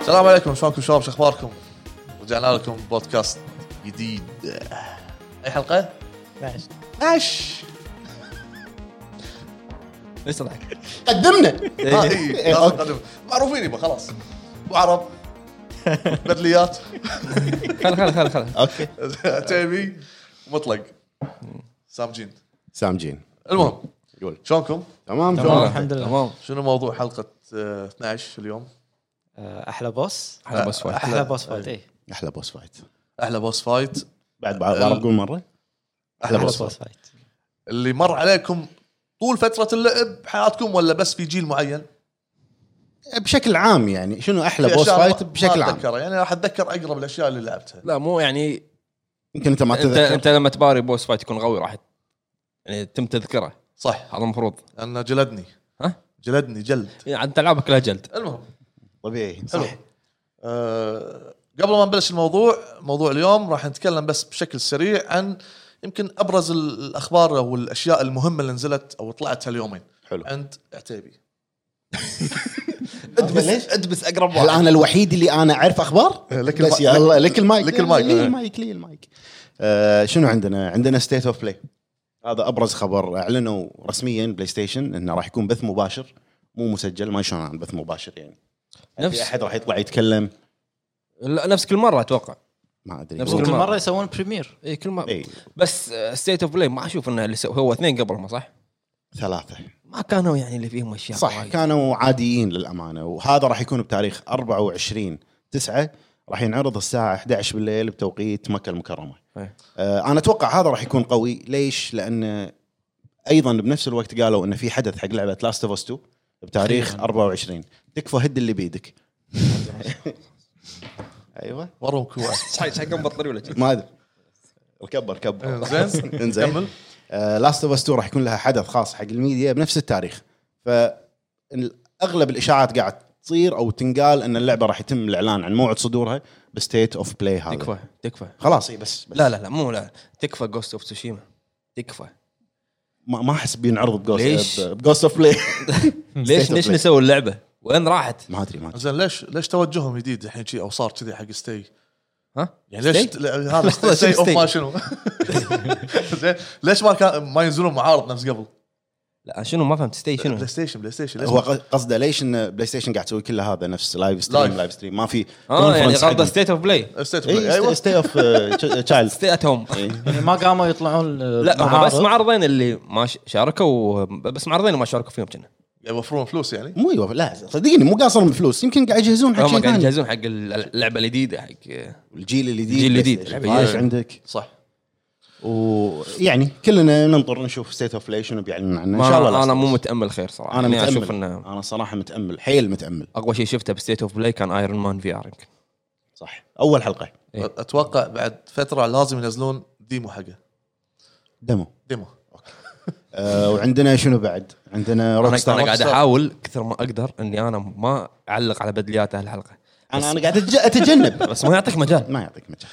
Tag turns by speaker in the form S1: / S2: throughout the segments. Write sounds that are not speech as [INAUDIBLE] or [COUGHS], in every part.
S1: السلام عليكم شلونكم شباب شو اخباركم؟ رجعنا لكم بودكاست جديد اي حلقه؟
S2: ماشي.
S1: عش
S2: ليش تضحك؟
S3: قدمنا
S1: آه، إي،
S2: إيه.
S1: لازم نقدم. معروفين يبا خلاص ابو
S3: [LAUGHS]
S1: عرب بدليات
S2: خل خل خل خل
S3: اوكي
S1: تيمي مطلق سامجين
S3: سامجين
S1: المهم
S3: قول
S1: شلونكم؟
S3: تمام
S2: تمام
S3: شلون؟
S2: الحمد لله
S4: تمام
S1: شنو موضوع حلقه آه، 12 اليوم؟
S2: آه، احلى بوس
S4: احلى بس فايت
S1: أحلى-
S2: احلى بوس فايت اي
S3: احلى بوس فايت
S1: احلى بوس فايت
S3: بعد بعرف قول مره احلى
S2: احلى
S3: بوس
S2: بوس
S3: فايت
S2: فايت
S1: اللي مر عليكم طول فتره اللعب بحياتكم ولا بس في جيل معين؟
S3: بشكل عام يعني شنو احلى
S1: في
S3: بوس
S1: أشياء ما-
S3: فايت بشكل
S1: ما
S3: عام
S1: اتذكرها يعني راح اتذكر اقرب الاشياء اللي لعبتها
S4: لا مو يعني
S3: يمكن انت ما
S4: انت
S3: تذكر
S4: انت لما تباري بوس فايت يكون قوي راح يعني تم تذكره
S1: صح
S4: هذا المفروض
S1: انا جلدني
S4: ها؟
S1: جلدني جلد
S4: يعني انت العابك كلها جلد
S1: المهم
S3: طبيعي
S1: حلو أه قبل ما نبلش الموضوع موضوع اليوم راح نتكلم بس بشكل سريع عن يمكن ابرز ال- الاخبار او الاشياء المهمه اللي نزلت او طلعت هاليومين
S3: حلو
S1: عند عتيبي
S3: ليش؟
S4: ادبس اقرب
S3: هل انا الوحيد اللي انا اعرف اخبار؟
S1: لك
S3: بس يا الله لك المايك
S1: لك المايك.
S3: لي المايك لي المايك آه، شنو عندنا؟ عندنا ستيت اوف بلاي هذا ابرز خبر اعلنوا رسميا بلاي ستيشن انه راح يكون بث مباشر مو مسجل ما شلون عن بث مباشر يعني في
S4: نفس
S3: احد راح يطلع يتكلم
S4: لا نفس كل مره اتوقع
S3: ما إيه. ادري
S4: نفس
S2: كل
S4: كل مرة.
S2: مره يسوون بريمير
S4: اي كل مره
S3: إي،
S4: بس آه، ستيت اوف بلاي ما اشوف انه اللي سو- هو اثنين قبلهم صح؟
S3: ثلاثه
S4: ما كانوا يعني اللي فيهم اشياء
S3: صح
S4: [LAUGHS] وايد.
S3: كانوا عاديين للامانه وهذا راح يكون بتاريخ 24 9 راح ينعرض الساعه 11 بالليل بتوقيت مكه المكرمه.
S4: إيه.
S3: آه انا اتوقع هذا راح يكون قوي ليش؟ لان ايضا بنفس الوقت قالوا ان في حدث حق لعبه لاست اوف اس 2 بتاريخ 24 تكفى هد اللي بيدك. ايوه
S1: وروم كوع
S4: صحيح صحيح كم بطري ولا شيء
S3: ما ادري ركبر ركبر [LAUGHS]
S1: زين
S3: انزين
S1: كمل.
S3: لاست اوف اس 2 راح يكون لها حدث خاص حق الميديا بنفس التاريخ فاغلب الاشاعات قاعد تصير او تنقال ان اللعبه راح يتم الاعلان عن موعد صدورها بستيت اوف بلاي هذا
S4: [LAUGHS] تكفى تكفى
S3: خلاص اي بس, بس
S4: لا لا لا مو لا تكفى جوست اوف تسوشيما تكفى
S3: ما ما احس بينعرض بجوست
S4: ليش؟
S3: بجوست اوف بلاي State
S4: ليش
S3: of
S4: ليش
S3: Play.
S4: نسوي اللعبه؟ وين راحت؟
S3: [LAUGHS] ما ادري ما ادري
S1: زين ليش ليش توجههم جديد الحين شي او صار كذي حق ستي
S4: ها؟
S1: يعني ليش
S4: Stay؟
S1: لا، هذا
S4: لحظة،
S1: ستي
S4: شنو
S1: اوف
S4: stay؟
S1: ما شنو [LAUGHS] زين ليش ما كان ما ينزلون معارض نفس قبل
S4: لا شنو ما فهمت ستي شنو؟
S1: بلاي ستيشن بلاي ستيشن ليش
S3: هو قص- قصده ليش ان بلاي ستيشن قاعد تسوي كل هذا نفس لايف ستريم
S1: Live.
S3: لايف ستريم ما في
S4: اه يعني
S3: conference إيه،
S4: غرضه
S3: حقهم.
S4: ستيت اوف بلاي
S1: ستيت
S3: إي،
S1: ايوه
S3: ستي اوف تشايلد
S4: ستي ات هوم
S2: [LAUGHS]
S3: [LAUGHS] إيه.
S2: يعني ما قاموا يطلعون آه،
S4: لا هم إيه. بس معرضين اللي ما ش- شاركوا بس معرضين اللي ما شاركوا فيهم كنا
S1: يوفرون فلوس يعني
S3: مو يوفر لا صدقني مو قاصرهم الفلوس يمكن قاعد يجهزون حق
S4: هم
S3: شيء
S4: قاعدين
S3: ثاني
S4: يجهزون حق اللعبه الجديد حق
S3: الجيل الجديد
S4: الجيل الجديد.
S3: PlayStation. عايش
S4: إيه.
S3: عندك
S1: صح
S3: ويعني كلنا ننطر نشوف ستيت اوف بلاي شنو بيعلن عنه ان شاء الله
S4: ما
S3: لا
S4: انا
S3: أستانس.
S4: مو متامل خير صراحه
S3: انا متامل
S4: اشوف انه
S3: انا صراحه متامل حيل متامل
S4: اقوى شيء شفته بستيت اوف بلاي كان ايرون مان في ار يمكن
S3: صح اول حلقه
S4: إيه.
S1: اتوقع بعد فتره لازم ينزلون ديمو حقه
S3: دمو
S1: ديمو
S3: أه وعندنا شنو بعد عندنا روك
S4: انا أنا
S3: ستار
S4: قاعد
S1: Rockstar.
S4: احاول كثر ما اقدر اني انا ما اعلق على بدليات الحلقه
S3: انا انا قاعد أتج- اتجنب
S4: [LAUGHS] بس ما يعطيك مجال
S3: ما يعطيك مجال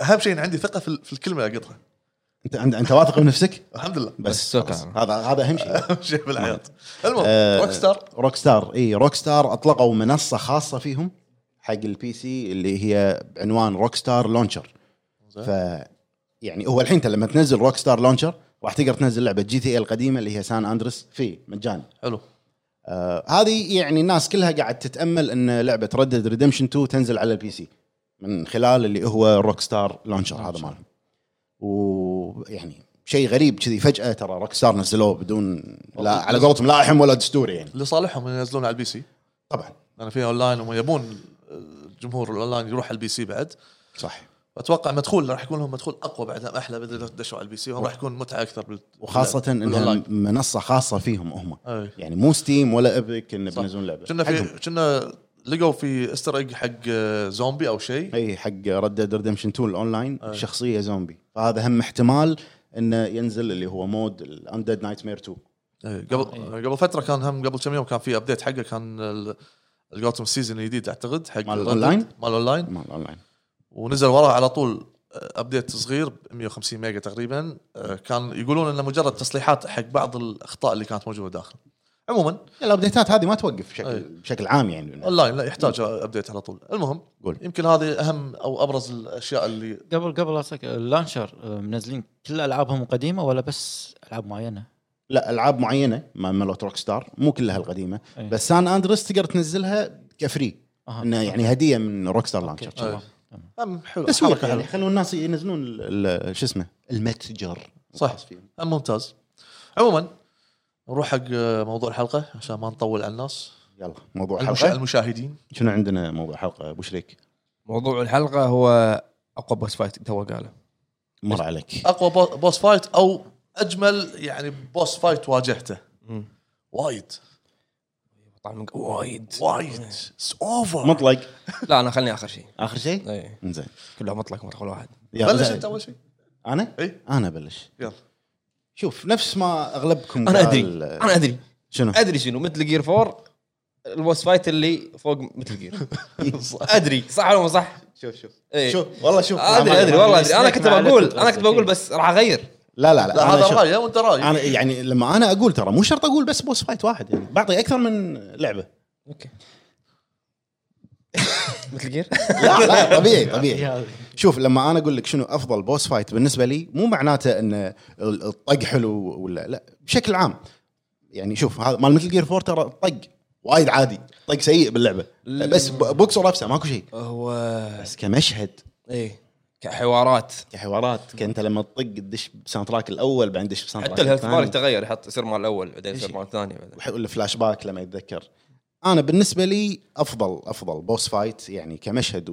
S1: اهم شيء إن عندي ثقه في, ال- في الكلمه اللي اقطها
S3: انت عند- انت واثق من نفسك
S1: الحمد لله
S3: بس
S4: بس أوكي.
S3: خلاص. هذا هذا اهم شيء
S1: اهم شيء بالحياه المهم
S3: آه،
S1: روك ستار
S3: روك ستار اي روك ستار اطلقوا منصه خاصه فيهم حق البي سي اللي هي بعنوان روك ستار لونشر ف يعني هو الحين انت لما تنزل روك ستار لونشر راح تقدر تنزل لعبه جي تي اي القديمه اللي هي سان اندرس فيه مجاني
S1: حلو
S3: آه، هذه يعني الناس كلها قاعد تتامل ان لعبه ردد ريدمشن 2 تنزل على البي سي من خلال اللي هو روك ستار لانشر هذا مالهم ويعني شيء غريب كذي فجاه ترى روك ستار نزلوه بدون لا على قولتهم لا حم ولا دستوري يعني
S1: لصالحهم ينزلون على البي سي
S3: طبعا
S1: لان في اونلاين هم يبون الجمهور الاونلاين يروح على البي سي بعد
S3: صح
S1: اتوقع مدخول راح يكون لهم مدخول اقوى بعد احلى بدل لو دشوا على البي سي هم راح يكون متعه اكثر بال...
S3: وخاصه انها
S1: بالأونلاين.
S3: منصه خاصه فيهم هم
S1: أي.
S3: يعني مو ستيم ولا ابيك انه
S1: صح.
S3: بينزلون لعبه
S1: كنا
S3: حقهم.
S1: في كنا لقوا في استر ايج حق آه، زومبي او شيء
S3: اي حق ريد ديد ريدمشن 2 الاونلاين
S1: آه.
S3: شخصيه زومبي فهذا هم احتمال انه ينزل اللي هو مود الاندد نايت مير 2
S1: آه، قبل قبل فتره كان هم قبل كم يوم كان في ابديت حقه كان ال- الجوتم سيزون الجديد اعتقد حق
S3: مال
S1: Red Dead،
S3: الأونلاين؟
S1: مال الاونلاين
S3: مال الاونلاين
S1: ونزل وراه على طول ابديت صغير ب 150 ميجا تقريبا آه، كان يقولون انه مجرد تصليحات حق بعض الاخطاء اللي كانت موجوده داخل عموما
S3: إيه. الابديتات هذه ما توقف
S1: أي.
S3: بشكل بشكل عام يعني
S1: اونلاين لا يحتاج ابديت على طول المهم
S3: قول.
S1: يمكن هذه اهم او ابرز الاشياء اللي
S2: قبل قبل أصلاً اللانشر آه، منزلين كل العابهم قديمه ولا بس العاب معينه؟
S3: لا العاب معينه ما- مالت روك ستار مو كلها القديمه
S2: أي.
S3: بس سان اندرس تقدر تنزلها كفري
S2: أها.
S3: انه يعني هديه من روك ستار
S2: أوكي،
S3: لانشر
S2: تمام.
S1: هم حلو
S3: تسويق
S1: حركة
S3: يعني
S1: حلوة.
S3: خلوا الناس ينزلون ال- ال- شو اسمه المتجر
S1: صح.
S3: الخاص فيهم.
S1: هم ممتاز عموما نروح حق موضوع الحلقه عشان ما نطول على الناس
S3: يلا موضوع
S1: المشا-
S3: حلقه
S1: المشاهدين
S3: شنو عندنا موضوع حلقه ابو شريك
S4: موضوع الحلقه هو اقوى بوس فايت تو قاله
S3: مر عليك
S1: اقوى بو- بوس فايت او اجمل يعني بوس فايت واجهته
S4: مم.
S1: وايد
S4: طعم من- وايد
S1: وايد اتس اوفر
S3: مطلق
S4: لا انا خلني اخر شيء
S3: اخر شيء
S4: اي
S3: زين
S4: كله مطلق مدخل واحد
S3: يلا
S1: بلش
S3: زين.
S1: انت اول شيء
S3: انا
S1: إي.
S3: انا بلش
S1: يلا
S3: شوف نفس ما اغلبكم
S4: انا
S3: قال-
S4: ادري انا ادري
S3: شنو
S4: ادري شنو مثل جير 4 البوس فايت اللي فوق مثل جير
S3: إيه.
S1: [LAUGHS]
S4: ادري صح ولا مو صح؟
S3: شوف شوف
S4: إيه.
S3: شوف والله شوف
S4: ادري
S3: أنا-
S4: ادري والله ادري انا
S2: يسمعك
S4: كنت
S2: مع
S4: بقول
S2: لتوت
S4: انا كنت
S2: قصدك.
S4: بقول بس راح اغير
S3: لا لا لا,
S1: لا
S3: أنا
S1: هذا
S3: شوف.
S1: رايه وانت رايك
S3: انا يعني لما انا اقول ترى مو شرط اقول بس بوس فايت واحد يعني بعطي اكثر من لعبه
S4: اوكي [LAUGHS] مثل جير
S3: لا لا
S4: [LAUGHS]
S3: طبيعي طبيعي
S2: هذه.
S3: شوف لما انا اقول لك شنو افضل بوس فايت بالنسبه لي مو معناته ان ال- الطق حلو ولا لا بشكل عام يعني شوف هذا مال مثل جير فور ترى طق وايد عادي طق سيء باللعبه بس ب- بوكس ورفسه ماكو شيء
S4: هو
S3: بس كمشهد
S4: ايه كحوارات
S3: كحوارات كنت لما تطق تدش بساوند تراك الاول بعدين تدش بساوند
S4: حتى الهيلث بار يتغير يحط يصير مال الاول بعدين يصير مال الثاني بعدين
S3: الفلاش باك لما يتذكر انا بالنسبه لي افضل افضل بوس فايت يعني كمشهد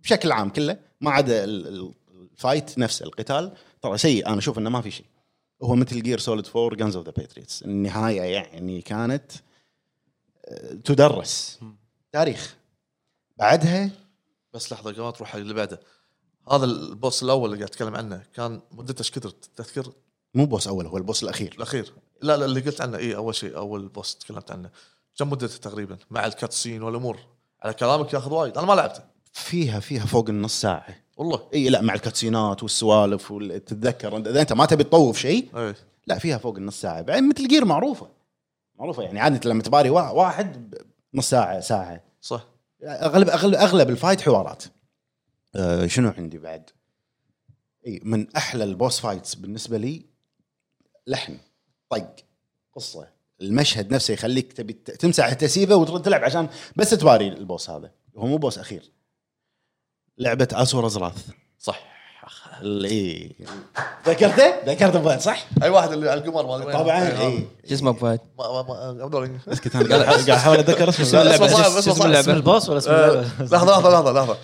S3: وبشكل عام كله ما عدا ال- ال- الفايت نفسه القتال ترى سيء انا اشوف انه ما في شيء هو مثل جير سوليد 4 جانز اوف ذا باتريتس النهايه يعني كانت آه، تدرس تاريخ بعدها
S1: بس لحظه قبل ما تروح حق اللي بعده هذا البوس الاول اللي قاعد اتكلم عنه كان مدته ايش كثر تذكر
S3: مو بوس اول هو البوس الاخير
S1: الاخير لا لا اللي قلت عنه اي اول شيء اول بوس تكلمت عنه كم مدته تقريبا مع الكاتسين والامور على كلامك ياخذ وايد انا ما لعبته
S3: فيها فيها فوق النص ساعه
S1: والله
S3: اي لا مع الكاتسينات والسوالف وال- تتذكر انت اذا انت ما تبي تطوف شيء
S1: اي
S3: لا فيها فوق النص ساعه بعدين مثل جير معروفه معروفه يعني عاده لما تباري وا- واحد ب- نص ساعه ساعه
S1: صح
S3: اغلب اغلب اغلب الفايت حوارات أه شنو عندي بعد اي من احلى البوس فايتس بالنسبه لي لحن طق قصه المشهد نفسه يخليك تبي ت- تمسح التسيبه وترد تلعب عشان بس تباري البوس هذا هو مو بوس اخير لعبه اسورز راث
S1: صح
S3: اي ذكرته؟ ذكرته بوين صح؟
S1: اي واحد اللي على القمر ما إيه،
S3: طبعا
S1: هذا.
S3: اي
S4: شو اسمه ابو فهد؟
S1: ما ما ما هذول-
S3: بس كنت انا قاعد قاعد احاول اتذكر اسمه
S1: اسمه
S4: اللعبة؟
S1: صعب، اسمه
S4: اسم
S1: صعب.
S2: اسم البوس ولا اسم
S1: آه،
S2: اللعبه؟ [LAUGHS]
S1: لحظه لحظه لحظه لحظه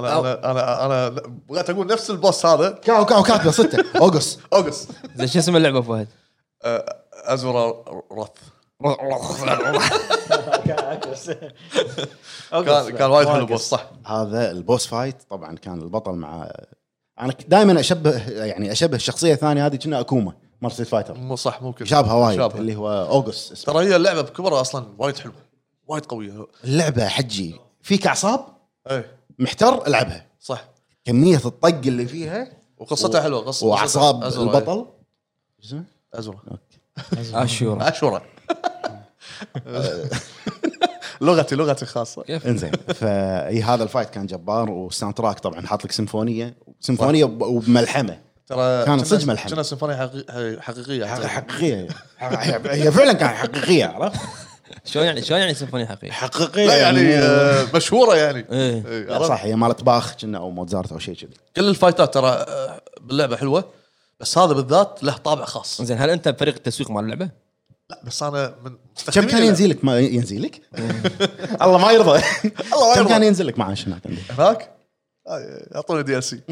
S1: لحظه انا انا انا انا بغيت اقول نفس البوس هذا
S3: كاو كاو كاتبه صدته اوغس
S1: اوغس
S4: زين شو اسم اللعبه ابو [LAUGHS] فهد؟
S1: آه، ازورا رث كان كان وايد حلو البوس صح
S3: هذا البوس فايت طبعا كان البطل مع انا دائما اشبه يعني اشبه الشخصيه الثانيه هذه كنا اكوما مارسيل فايتر
S1: مو صح مو كذا
S3: شابها وايد
S1: شابها.
S3: اللي هو اوغس اسمه.
S1: ترى هي اللعبه بكبرها اصلا وايد حلوه وايد قويه
S3: اللعبه حجي فيك اعصاب إيه.
S1: اي
S3: محتار العبها
S1: صح
S3: كميه الطق اللي فيها
S1: وقصتها حلوه قصه
S3: واعصاب
S1: قصتها أزرق.
S3: البطل شو اسمه؟
S1: ازرق
S4: اشورا
S1: اشورا [LAUGHS] لغتي لغتي الخاصه
S3: [LAUGHS] انزين فاي هذا الفايت كان جبار والساوند تراك طبعا حاط لك سيمفونيه سيمفونيه وب- وبملحمه
S1: ترى
S3: كانت
S1: كنا-
S3: صدق ملحمة.
S1: كنا سيمفونيه حقيقي- حقيقيه
S3: حق-
S1: حقيقيه
S3: حقيقيه هي فعلا كانت حقيقيه عرفت؟
S4: شلون يعني شلون يعني سيمفونيه حقيقيه؟
S3: حقيقيه
S1: لا يعني آه، مشهوره يعني
S3: [LAUGHS]
S4: ايه
S1: إيه،
S3: لا،
S1: عرفت؟
S3: صح هي مالت باخ كنا او موزارت او شيء كذي
S1: كل الفايتات ترى آه، باللعبه حلوه بس هذا بالذات له طابع خاص
S4: زين هل انت بفريق التسويق مال اللعبه؟
S1: لا بس انا من
S3: كم
S1: مستخدمين
S3: كان
S1: اللعبة.
S3: ينزل لك ما ينزل لك؟ الله
S1: [LAUGHS]
S3: ما يرضى
S1: الله
S3: كم كان
S1: يرضى
S3: ينزل لك معاش هناك عندي
S1: هناك آه، يعطوني دي ال سي [LAUGHS]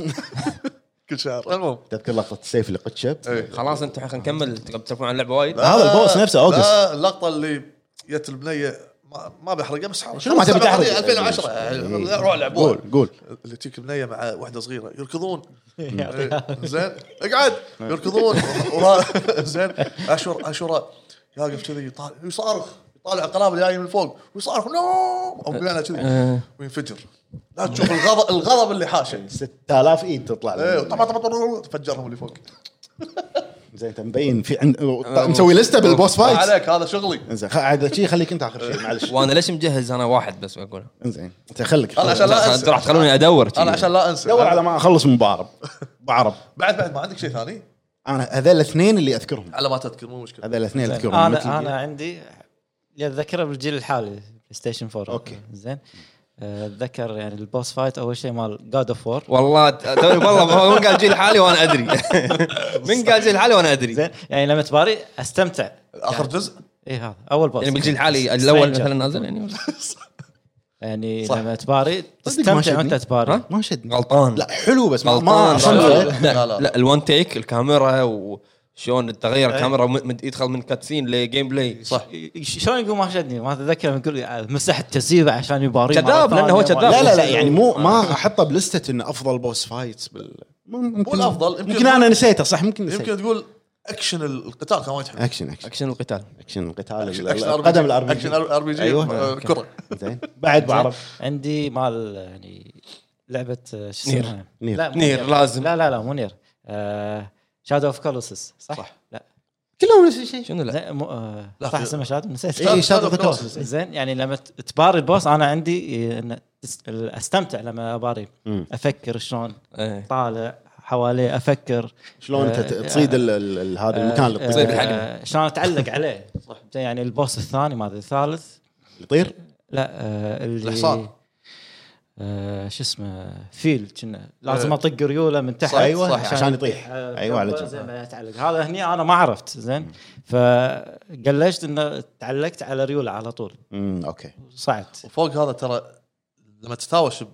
S1: كل شهر المهم
S3: تذكر لقطه السيف اللي قد
S1: إيه.
S4: خلاص انتم خلينا نكمل تبون تسولفون عن اللعبه وايد
S3: هذا البوس نفسه، أوغست.
S1: آه، لا، اللقطه اللي جت البنيه ما, ما بحرقها بس حرق
S3: شنو ما تبي تحرق؟
S1: 2010
S3: إيه.
S1: روح لعبوها
S3: قول قول
S1: اللي تجيك بنيه مع واحده صغيره
S3: [LAUGHS]
S1: يركضون إيه، زين اقعد يركضون وهذا- زين اشور اشورا يقف كذي يطالع يصارخ يطالع القنابل جايه من فوق ويصارخ نو او بمعنى
S3: آه.
S1: كذي وينفجر لا تشوف الغضب الغضب اللي حاشه
S3: 6000 ايد تطلع
S1: إيه،
S3: لنا.
S1: طبعا طبعا طبعا تفجرهم اللي فوق
S3: زين انت مبين في عند مسوي لسته بالبوس
S1: ما
S3: فايت
S1: آه، عليك هذا شغلي
S3: زين خ- عاد شي خليك انت اخر
S1: [LAUGHS]
S3: شيء معلش
S4: وانا ليش مجهز انا واحد بس بقول
S3: زين انت خليك
S1: انا عشان لا انسى
S4: راح تخلوني ادور
S1: انا عشان لا انسى
S3: دور على ما اخلص من بعرب بعرب
S1: بعد بعد ما عندك شيء ثاني
S3: انا هذول الاثنين اللي اذكرهم
S1: على ما تذكر مو مشكله
S3: هذول الاثنين اللي اذكرهم Metal
S2: انا
S3: Gear.
S2: انا عندي اللي اتذكره بالجيل الحالي بلاي ستيشن 4
S3: أوكي.
S2: زين آه، اتذكر يعني البوس فايت اول شيء مال جاد اوف وور
S4: والله توني والله هو من قال جيل حالي وانا ادري من قال جيل حالي وانا ادري
S2: زين يعني لما تباري استمتع
S3: يعني
S1: اخر جزء
S2: اي إيه، هذا اول بوس
S4: يعني بالجيل الحالي الاول
S2: Stranger.
S4: مثلا نازل يعني
S2: يعني
S1: صح.
S2: لما تباري
S3: صدق
S2: تستمتع
S3: ما شدني.
S2: وانت تباري
S3: ما شدني
S4: غلطان
S3: لا حلو بس ما ما
S4: غلطان
S1: عشان-
S4: لا
S3: عشان
S1: لا، لا.
S4: لا, لا, لا الون تيك الكاميرا وشلون تغير الكاميرا وم- مد- يدخل من كاتسين لجيم بلاي
S1: صح
S2: ش- شلون يقول ما شدني ما اتذكر من يقول آه، مسح التسييبه عشان يباري
S4: كذاب،
S2: مرة ثانية
S4: لأنه هو
S2: وما-
S4: كذاب.
S3: لا لا لا
S2: [LAUGHS]
S3: يعني مو ما احطه بلستة انه افضل بوس فايتس بال ممكن
S1: مو الأفضل،
S3: ممكن,
S1: يمكن-
S3: ممكن انا نسيته صح ممكن نسيته
S1: يمكن تقول اكشن القتال كان وايد حلو
S3: اكشن اكشن
S4: اكشن القتال
S3: اكشن القتال
S1: أكشن-
S3: ال-
S1: أكشن
S3: القدم الار بي
S1: اكشن ار بي جي
S3: ايوه
S1: آه، كره [LAUGHS]
S3: زين بعد بعرف
S2: عندي مال يعني لعبه آه، شو
S4: نير.
S2: اسمها؟
S3: نير.
S2: لا مو
S4: نير، لازم.
S2: لا لا لا مو نير آه، شادو اوف كولوسس صح؟
S1: صح.
S2: لا
S3: كلهم نفس الشيء
S4: شنو لا
S2: زين، مو آه،
S1: لا،
S2: صح
S1: في-
S2: اسمه شادو نسيت
S3: اي
S1: Shadow
S3: شادو
S1: of
S3: ذا
S1: the
S3: كولوسس
S2: [LAUGHS] زين يعني لما ت- تباري البوس انا عندي إيه، إن تس- استمتع لما اباري
S3: مم.
S2: افكر شلون
S4: إيه.
S2: طالع حواليه افكر
S3: شلون
S1: آه،
S3: انت ت- تصيد ال- ال- ال- هذا المكان اللي
S4: تصيد
S3: تطير-
S4: الحجم.
S2: آه، شلون اتعلق عليه صح يعني البوس الثاني ما ادري الثالث
S3: يطير
S2: لا آه اللي
S1: الحصان.
S2: آه شو اسمه فيل
S3: آه.
S2: كنا لازم اطق ريوله من تحت
S1: صح،
S3: ايوه
S1: صح، يعني.
S3: عشان يطيح
S2: آه،
S3: ايوه على
S2: زي
S3: جنب
S2: ما يتعلق هذا هني انا ما عرفت زين فقلشت انه تعلقت على ريوله على طول
S3: أمم، اوكي
S2: صعدت
S1: وفوق هذا ترى لما تتهاوش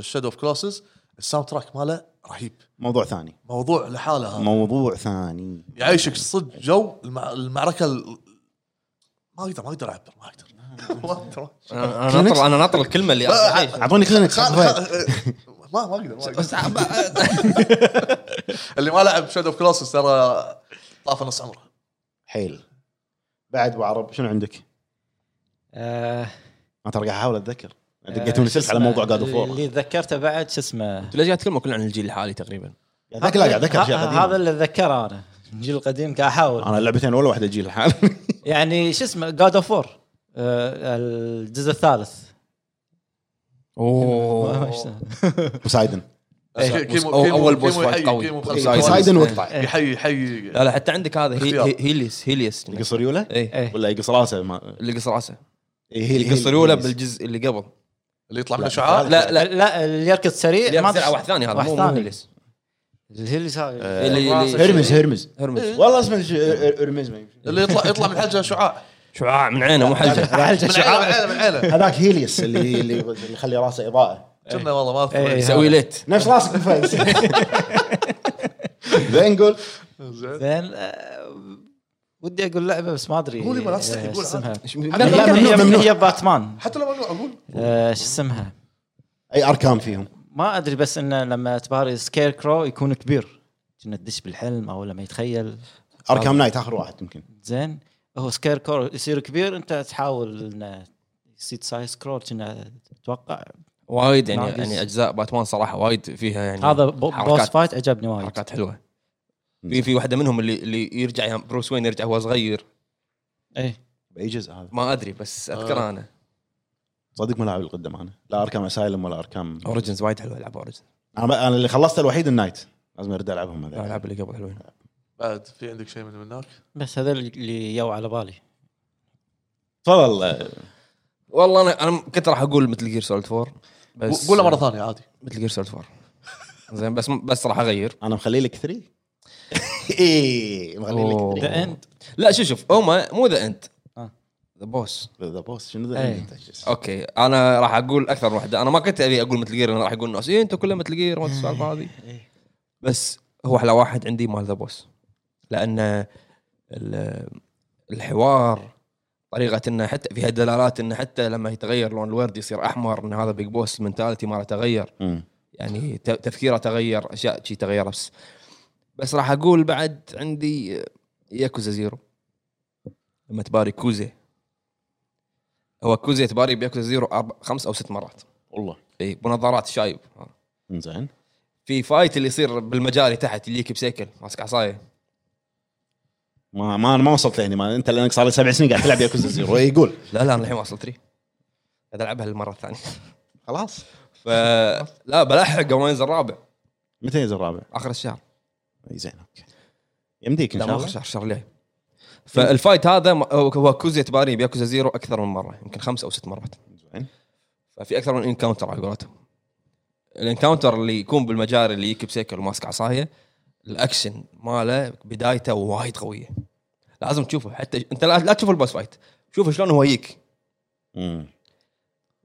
S1: شادو اوف كلوسز الساوند تراك ماله رهيب
S3: موضوع ثاني
S1: موضوع لحاله هذا
S3: موضوع ثاني
S1: يعيشك صدق جو المع... المعركه ال... ما اقدر ما اقدر اعبر ما
S3: [LAUGHS]
S1: اقدر ما اقدر
S4: انا أنا ناطر انا ناطر الكلمه اللي اصلا إيه.
S3: اعطوني كلينكس
S1: خا- خا-
S3: [LAUGHS]
S1: ما ما اقدر ما أقدر. [LAUGHS] اللي ما لعب شادو اوف كلوسز ترى طاف نص عمره
S3: حيل بعد ابو عرب شنو عندك؟
S2: آه
S3: انا ترى قاعد احاول اتذكر
S2: آه،
S3: دقيتوني سلسله على موضوع جاد اوف وور
S2: اللي تذكرته بعد شو اسمه
S4: أنت ليش قاعد تتكلم كلنا عن الجيل الحالي تقريبا
S3: ذاك لا قاعد اذكر
S2: ه-
S3: اشياء
S2: هذا
S3: قديمه
S2: اللي اتذكره انا الجيل القديم قاعد احاول
S3: انا لعبتين ولا واحده جيل الحال
S2: [LAUGHS] يعني شو اسمه جاد اوف وور آه، الجزء الثالث ما- شو
S4: اوه
S2: اسمه؟
S3: وسايدن
S1: كيمو-
S4: بس-
S1: إيه، كيمو-
S4: أول
S1: كيمو
S4: boss fight
S1: يحيي-
S4: قوي.
S1: كيمو
S2: طيب،
S4: Poseidon.
S1: خلص.
S3: سايدن
S4: إيه.
S3: واقطع
S1: يحيي يحيي
S4: لا لا حتى عندك هذا هي-
S1: اختيار.
S4: هي- هيليس هيليس
S3: يقص ريوله
S4: ايه
S2: إيه.
S3: ولا يقص راسه ما
S4: اللي قص راسه
S3: إيه، هي
S4: يقص
S3: هي-
S4: ريوله
S3: هي-
S4: بالجزء اللي قبل
S1: اللي يطلع
S3: لا،
S1: منه شعاع
S3: لا،
S4: لا لا
S2: لا اللي يركض سريع
S4: اللي
S2: ما
S4: يقص
S2: أدري-
S4: واحد ثاني هذا
S2: واحد
S4: مو مو
S2: ثاني.
S4: هيليس
S2: الهيلز هذا
S4: آه، اللي- اللي-
S2: [LAUGHS]
S3: هرمز هرمز
S4: هرمز
S3: والله اسمه ش- هرمز ما يمشي.
S1: اللي يطلع يطلع من الحلقه
S3: [LAUGHS]
S1: شعاع
S4: شعاع من عينه مو
S2: إيه.
S4: حلجه
S1: من عينه من عينه من عينه
S3: هذاك هيليوس اللي اللي اللي يخلي راسه اضاءه
S1: كنا والله ما
S2: إيه.
S1: اذكر
S4: يسوي ليت
S3: نفس راسك بالفايز [LAUGHS] زين قول
S1: زين.
S2: زين آه، ودي اقول لعبه بس ما ادري
S1: قول يبا، لا تستحي،
S2: آه،
S1: قول
S2: شو اسمها
S1: عادي.
S2: هي-
S3: لا، ممنوع،
S2: هي-
S3: ممنوع.
S2: هي باتمان
S1: حتى لو ممنوع اقول
S2: آه، شو اسمها
S3: اي اركان فيهم
S2: ما ادري بس انه لما تباري سكير كرو يكون كبير كنا تدش بالحلم او لما يتخيل
S3: اركام
S2: آه.
S3: نايت اخر واحد يمكن
S2: زين هو سكير كرو يصير كبير انت تحاول انه يصير سايز كرو كنا اتوقع
S4: وايد يعني
S2: ناقص.
S4: يعني اجزاء باتمان صراحه وايد فيها يعني
S2: هذا بو- بوس
S4: حركات
S2: فايت عجبني وايد
S4: حركات حلوه في في واحده منهم اللي اللي يرجع يا بروس وين يرجع وهو صغير
S2: اي
S3: باي جزء هذا
S4: ما ادري بس
S1: آه.
S4: اذكر انا
S3: صدق ما لاعب القدم انا لا اركام اسايلم ولا اركام
S4: اوريجنز وايد حلوه العب اوريجنز
S3: انا انا اللي خلصت الوحيد النايت لازم ارد العبهم
S1: إيه.
S3: هذول.
S4: الالعاب اللي قبل حلوين
S1: بعد في عندك شيء من هناك
S2: بس هذا اللي جو على بالي
S3: تفضل آه،
S4: والله انا انا كنت راح اقول مثل جير سولد 4 بس
S1: قولها مره ثانيه عادي
S4: مثل جير سولد 4 زين بس بس راح اغير
S3: انا مخلي لك 3 اي مخلي لك
S4: أوه.
S3: 3
S2: ذا اند
S4: لا شوف شوف هما مو ذا انت
S2: آه.
S4: ذا بوس
S3: ذا بوس شنو ذا
S2: إيه.
S3: أنت؟
S4: اوكي انا راح اقول اكثر من واحده انا ما كنت ابي اقول مثل جير انا راح يقول الناس ايه انتم كلهم مثل جير ما السالفه هذه
S2: إيه.
S4: بس هو احلى واحد عندي مال ذا بوس لان ال- الحوار طريقه انه حتى فيها دلالات انه حتى لما يتغير لون الورد يصير احمر ان هذا بيج بوس المنتاليتي ماله تغير
S3: أمم.
S4: يعني ت- تفكيره تغير اشياء شي تغير بس بس راح اقول بعد عندي ياكوزا زيرو لما تباري كوزي هو كوزي تباري بياكوزا زيرو أربع خمس او ست مرات
S3: والله
S4: اي بنظارات شايب
S3: زين
S4: في فايت اللي يصير بالمجاري تحت اللي يجيك بسيكل ماسك عصايه
S3: ما ما انا ما وصلت لهني ما انت لانك صار لي سبع سنين قاعد تلعب ياكوزا زيرو [LAUGHS] يقول
S4: لا لا انا الحين واصل 3 قاعد العبها للمره الثانيه
S3: خلاص
S4: ف لا بلحق قبل ما ينزل الرابع
S3: متى ينزل الرابع؟
S4: اخر الشهر
S3: إي زين اوكي يمديك ان
S4: لا
S3: شاء
S4: ما اخر
S3: الله
S4: الشهر الشهر اللي فالفايت هذا م- هو هو كوزيا تباري بياكوزا زيرو اكثر من مره يمكن خمس او ست مرات
S3: زين
S4: ففي اكثر من انكاونتر على قولتهم الانكاونتر اللي يكون بالمجاري اللي يجيك بسيكل وماسك عصايه الاكشن ماله بدايته وايد قويه لازم تشوفه حتى انت لا لا تشوف البوس فايت شوف شلون هو يجيك
S3: مم.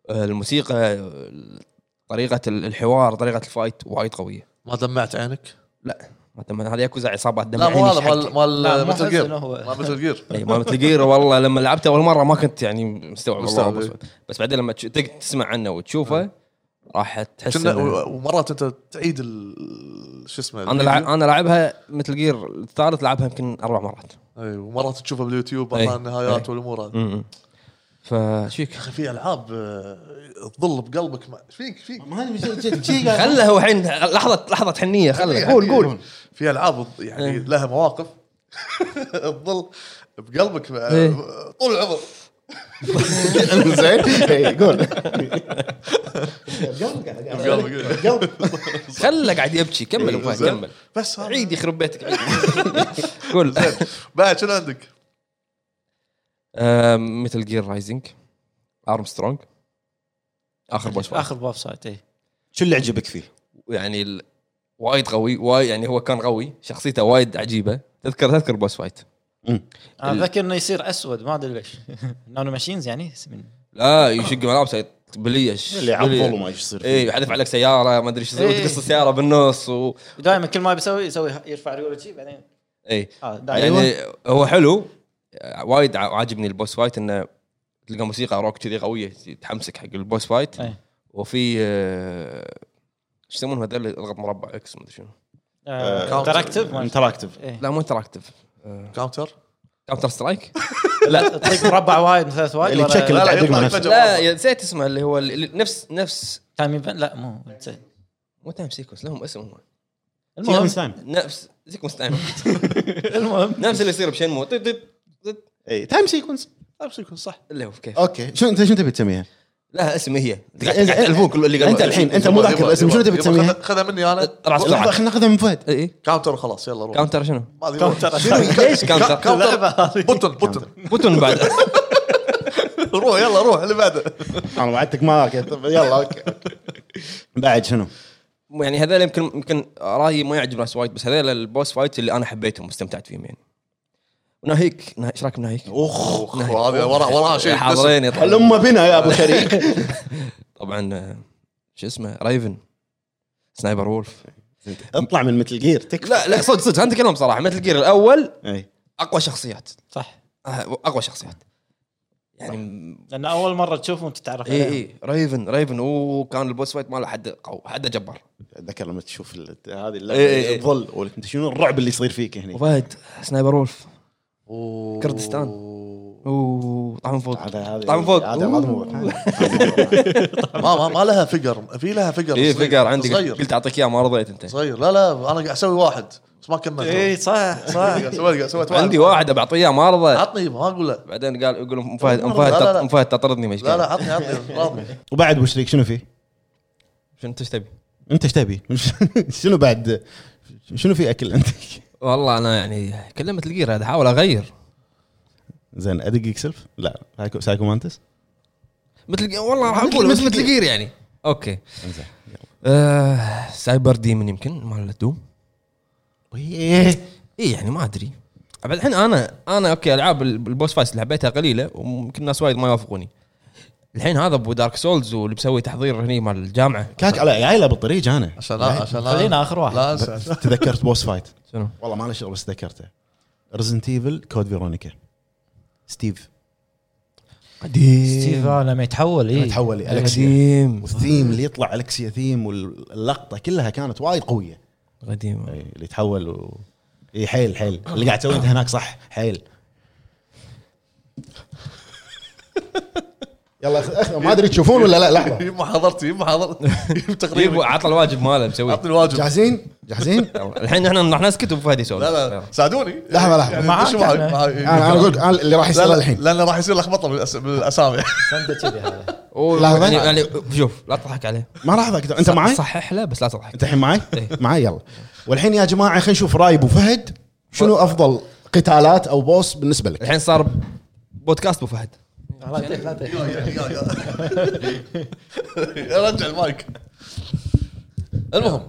S4: آه، الموسيقى آه، طريقه ال- الحوار طريقه الفايت وايد قويه
S1: ما دمعت عينك؟
S4: لا ما تم- هذه ياكوزا عصابه
S1: لا مو هذا مال
S2: لا،
S1: مال
S2: مو
S1: مثل
S2: حزن
S1: جير
S2: هو.
S1: مال مثل جير
S4: [LAUGHS] اي ما متلقير إيه، والله لما لعبته اول مره ما كنت يعني مستوعب
S1: مستوعب، إيه.
S4: مستوعب
S1: إي.
S4: بس, بس بعدين لما تش- تق- تسمع عنه وتشوفه راح تحس
S1: كنا
S4: إنه-
S1: و- ومرات انت تعيد ال- شو اسمه
S4: انا لع... انا لعبها مثل جير الثالث لعبها يمكن اربع مرات
S1: اي ومرات تشوفها باليوتيوب
S4: أي.
S1: اثناء النهايات والامور هذه
S4: فشيك
S1: يا اخي في العاب آه، تظل بقلبك ما- ايش فيك إيش فيك
S3: ما أدري شو- شو- شو قاعد-
S4: خله هو الحين لحظه لحظه حنيه خله قول قول
S1: يعني في العاب يعني لها مواقف [LAUGHS] تظل بقلبك آه،
S4: إيه.
S1: طول العمر
S3: زين إي، قول
S1: بقلبك
S4: خله قاعد يبكي كمل أبو فهد،
S1: إيه، زين.
S4: كمل
S1: بس هذا.
S4: عيد يخرب
S1: [LAUGHS]
S4: بيتك عيد قول
S1: بعد شنو عندك؟
S4: آه، مثل جير رايزنج ارمسترونج اخر بوس فايت.
S2: اخر باب سايت اي
S3: شو اللي عجبك فيه؟
S4: يعني ال... وايد قوي وايد يعني هو كان قوي شخصيته وايد عجيبه تذكر تذكر بوس فايت
S2: انا
S4: ال-
S2: اتذكر انه يصير اسود ما ادري ليش [LAUGHS] نانو ماشينز يعني من
S4: لا يشق ملابسه بليه
S3: اللي عضل وما ايش يصير
S4: اي يحذف إيه، عليك سياره ما ادري ايش يصير
S2: إيه.
S4: وتقص السياره بالنص و...
S2: دائما كل ما بيسوي يسوي يرفع ريوله شي بعدين
S4: اي
S2: اه دائما
S4: يعني هو حلو وايد ع- عاجبني البوس فايت انه تلقى موسيقى روك كذي قويه تحمسك حق البوس فايت
S2: إيه.
S4: وفي آه، ايش يسمونهم هذول اللي يضغط مربع اكس ما ادري شنو آه، [LAUGHS]
S2: انتراكتيف
S3: انتراكتيف
S4: لا مو انتراكتيف
S1: كاونتر؟
S4: كاونتر
S2: [LAUGHS]
S4: سترايك
S2: لا تطق مربع وايد مثلث وايد
S3: اللي
S2: ولا-
S3: تشكل
S1: لا، لا،
S3: تعدل مع
S1: يطلع
S3: نفسك
S1: فجأة.
S4: لا يا- نسيت اسمه اللي هو اللي- اللي نفس نفس
S2: تايم ايفنت لا مو
S4: [LAUGHS] مو تايم سيكونس لهم اسم هم
S2: المهم
S3: سيكونس تايم
S4: نفس سيكونس تايم
S2: المهم
S4: [LAUGHS] نفس اللي يصير بشنمو طيب طيب
S3: اي تايم سيكونس
S1: يكون صح
S4: اللي هو كيف
S3: اوكي شو انت شو تبي تسميها؟
S4: لها اسم هي
S3: إنزين،
S4: الفوق اللي قبل.
S3: انت الحين انت مو ذاكر الاسم شنو تبي
S1: يبا
S3: تسميها؟
S1: خذ- خذها مني انا
S4: راس
S3: لحظه
S4: قرعه
S3: خلينا ناخذها من فهد
S4: اي إي.
S1: كاونتر وخلاص يلا روح
S4: كاونتر إيه، شنو؟
S1: ما أدري
S2: كاونتر.
S1: وين. شنو الك-
S4: ليش كاونتر؟
S2: اللعبة
S1: كاونتر
S2: هذه.
S1: بوتن بوتن
S4: بوتون [LAUGHS] بعد
S1: روح يلا روح اللي بعده
S3: انا وعدتك ما أوكي، طب يلا اوكي أوكي. [LAUGHS] بعد شنو؟
S4: يعني هذول يمكن يمكن رايي ما يعجب ناس وايد بس هذول البوس فايت اللي انا حبيتهم واستمتعت فيهم يعني وناهيك نه- ايش رايك بناهيك؟
S1: اخ هذه وراها وراها آه، شيء
S4: حاضرين يطلع.
S3: الامه بنا يا ابو شريك [LAUGHS]
S4: طبعا آه، شو اسمه رايفن سنايبر وولف
S3: اطلع من مثل جير تكفى
S4: لا لا صدق صدق خلينا نتكلم صراحه مثل جير الاول
S3: اي
S4: اقوى شخصيات
S2: صح
S4: آه، اقوى شخصيات يعني
S2: لان اول مره تشوفهم تتعرف
S4: اي
S2: عليهم
S4: اي ريفن ريفن اوه كان البوس فايت ماله حد قوي حد جبار
S3: اتذكر لما تشوف ال- هذه
S4: إي، إي.
S3: اللعبه الظل ولا انت شنو الرعب اللي يصير فيك هنا
S4: وفهد سنايبر وولف
S1: أوه.
S4: كردستان. اوه طعم فوق
S3: هذا هذا
S4: طعم فوق.
S3: هذا هذا مو
S1: ما ما ما لها فقر في لها فقر
S4: اي
S1: صغير.
S4: فقر إيه، عندي قلت-
S1: صغير
S4: قلت اعطيك اياه ما رضيت انت
S1: صغير لا لا انا قاعد اسوي واحد بس ما كملت
S2: اي صح صح
S1: قاعد [LAUGHS] سويت قاعد سويت واحد
S4: عندي واحد بعطيه اياه ما رضى
S1: عطني ما اقول لا
S4: بعدين قال يقول ام فهد ام
S1: لا، لا،
S4: فهد
S1: لا.
S4: ام فهد تطردني ما إيش
S1: لا
S4: قال.
S1: لا عطني عطني راضي
S3: وبعد ابو شريك شنو فيه؟
S4: شنو انت ايش تبي؟
S3: انت ايش تبي؟ [LAUGHS] شنو بعد شنو في اكل عندك؟
S4: والله انا يعني كلمت الجير هذا احاول اغير
S3: زين ادقق سلف؟ لا سايكو سايكو مانتس؟
S4: مثل والله راح
S3: مثل-
S4: اقول
S3: مثل
S4: مثل مثل جير يعني اوكي
S3: انزين
S4: آه، سايبر ديمون يمكن مال دوم
S3: يلا.
S4: اي يعني ما ادري بعد الحين انا انا اوكي العاب ال- البوس فايتس اللي حبيتها قليله وممكن الناس وايد ما يوافقوني الحين هذا ابو دارك سولز واللي مسوي تحضير هني مال الجامعه
S3: كاك على جايله بالطريق انا
S1: عشان لا عشان لا
S2: خلينا آخر واحد.
S1: لا [LAUGHS] انسى
S3: تذكرت بوس فايت
S4: شنو؟
S3: والله ما له شغل بس ذكرته ريزنت ايفل كود فيرونيكا ستيف
S2: ستيف
S4: قديم
S2: آه، لما يتحول
S5: إيه.
S2: اي
S3: تحول لي الكسيا
S4: قديم
S3: والثيم اللي يطلع الكسيا ثيم واللقطه كلها كانت وايد قويه
S4: قديم
S3: أي، اللي تحول و... اي حيل حيل اللي قاعد تسويه انت هناك صح حيل يلا أخ- أخ- ما ادري تشوفون ولا لا لحظه
S1: يما حضرتي يما حضرتي يما تقريبا
S4: عطى الواجب ماله مسوي
S1: عطني الواجب
S3: جاهزين؟ جاهزين؟
S4: يلا. الحين احنا راح نسكت ابو فهد يسولف
S1: لا لا ساعدوني
S3: لحظة، لحظة.
S1: يعني
S5: معاك
S1: شو معاك
S5: أنا.
S1: معاك.
S3: انا انا اقول لك، أنا اللي راح
S1: لا
S3: يصير
S1: لا،
S3: الحين
S1: لأن راح يصير لخبطه بالأس- بالاسامي
S5: سنده كذي هذا
S4: أوه،
S3: لحظة.
S4: يعني- يعني شوف لا تضحك عليه
S3: ما راح اقدر انت
S4: صح-
S3: معي؟
S4: صحح له بس لا تضحك
S3: انت الحين معي؟
S4: إيه.
S3: معي يلا والحين يا جماعه خلينا نشوف راي ابو فهد شنو افضل قتالات او بوس بالنسبه لك؟
S4: الحين صار بودكاست ابو فهد
S5: لا تدح، لا تدح.
S1: يا- يا- يا. رجع المايك
S4: المهم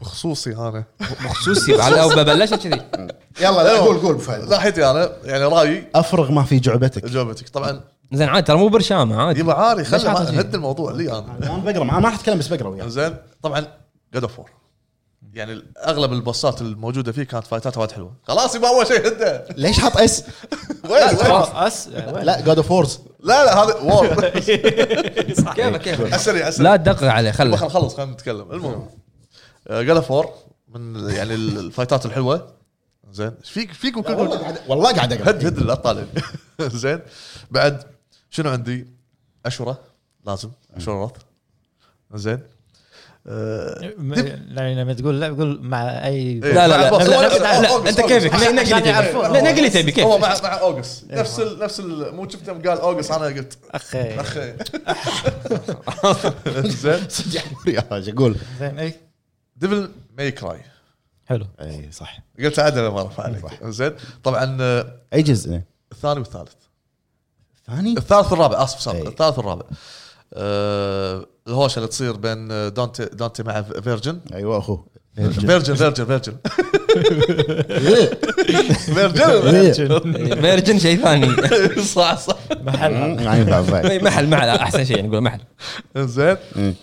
S1: بخصوصي انا
S4: بخصوصي بعد او بلشت كذي
S3: يلا لا
S1: أيوة.
S3: قول قول ابو فهد
S1: ناحيتي انا يعني رايي
S3: افرغ ما في جعبتك
S1: اجابتك طبعا
S4: زين عادي ترى مو برشامه عادي
S1: يبا عاري
S4: ليش
S1: خلي
S4: عاطل
S1: ما-
S4: شيء؟
S1: هد الموضوع لي انا
S3: انا بقرا ما ما راح اتكلم بس بقرا [LAUGHS] وياك
S1: زين طبعا جاد اوف وور يعني اغلب البصات الموجوده فيه كانت فايتاتها وايد حلوه خلاص يبا اول شيء هده
S3: ليش حاط اس؟
S1: وين وين
S2: خلاص اس
S5: آه،
S2: وين؟
S3: لا جاد اوف [LAUGHS] وورز
S1: لا لا هذا وور
S4: كيفك كيفك
S1: اسري اسري
S4: لا تدقق عليه
S1: خلنا
S4: خله
S1: نخلص خلينا نتكلم المهم آه، جاد فور من يعني الفايتات الحلوه زين ايش فيك فيكم كلكم
S3: والله قاعد والله قاعد
S1: هد
S3: اقرا
S1: هد لا تطالعني [LAUGHS] زين بعد شنو عندي؟ اشوره لازم اشوره رث زين آه،
S5: م- يعني لما تقول لا قول مع اي
S1: إيه.
S4: لا لا لا
S1: بعد بوس.
S4: لا،
S1: أوكس،
S4: لا، لا،
S1: أوكس،
S4: انت
S1: أوكس.
S4: كيفك
S1: عشان-
S4: نقلي
S1: عشان
S4: تبي
S1: يعرفون.
S4: لا نقلي تبي كيف إيه.
S1: هو مع مع اوجس نفس ال نفس ال مو شفته قال اوجس انا قلت
S5: اخي
S1: اخي
S4: إيه.
S1: [LAUGHS] زين
S3: [LAUGHS] يا قول
S5: زين إيه. اي
S1: ديفل ماي كراي
S5: حلو
S3: اي صح
S1: قلت عدل ما رفع عليك زين طبعا آه،
S3: اي جزء
S1: الثاني والثالث
S3: [LAUGHS] ثاني
S1: الثالث والرابع اسف سوري
S3: إي.
S1: الثالث والرابع آه، الهوشه اللي تصير بين آه، دانتي دانتي مع فيرجن
S3: ايوه [LAUGHS] اخوه
S1: فيرجن فيرجن فيرجن فيرجن
S3: إيه.
S4: فيرجن شيء ثاني [LAUGHS]
S1: صح صح
S5: محل
S3: ما ينفع بعد.
S4: محل محل احسن شيء يعني، نقول محل
S1: زين
S3: مم.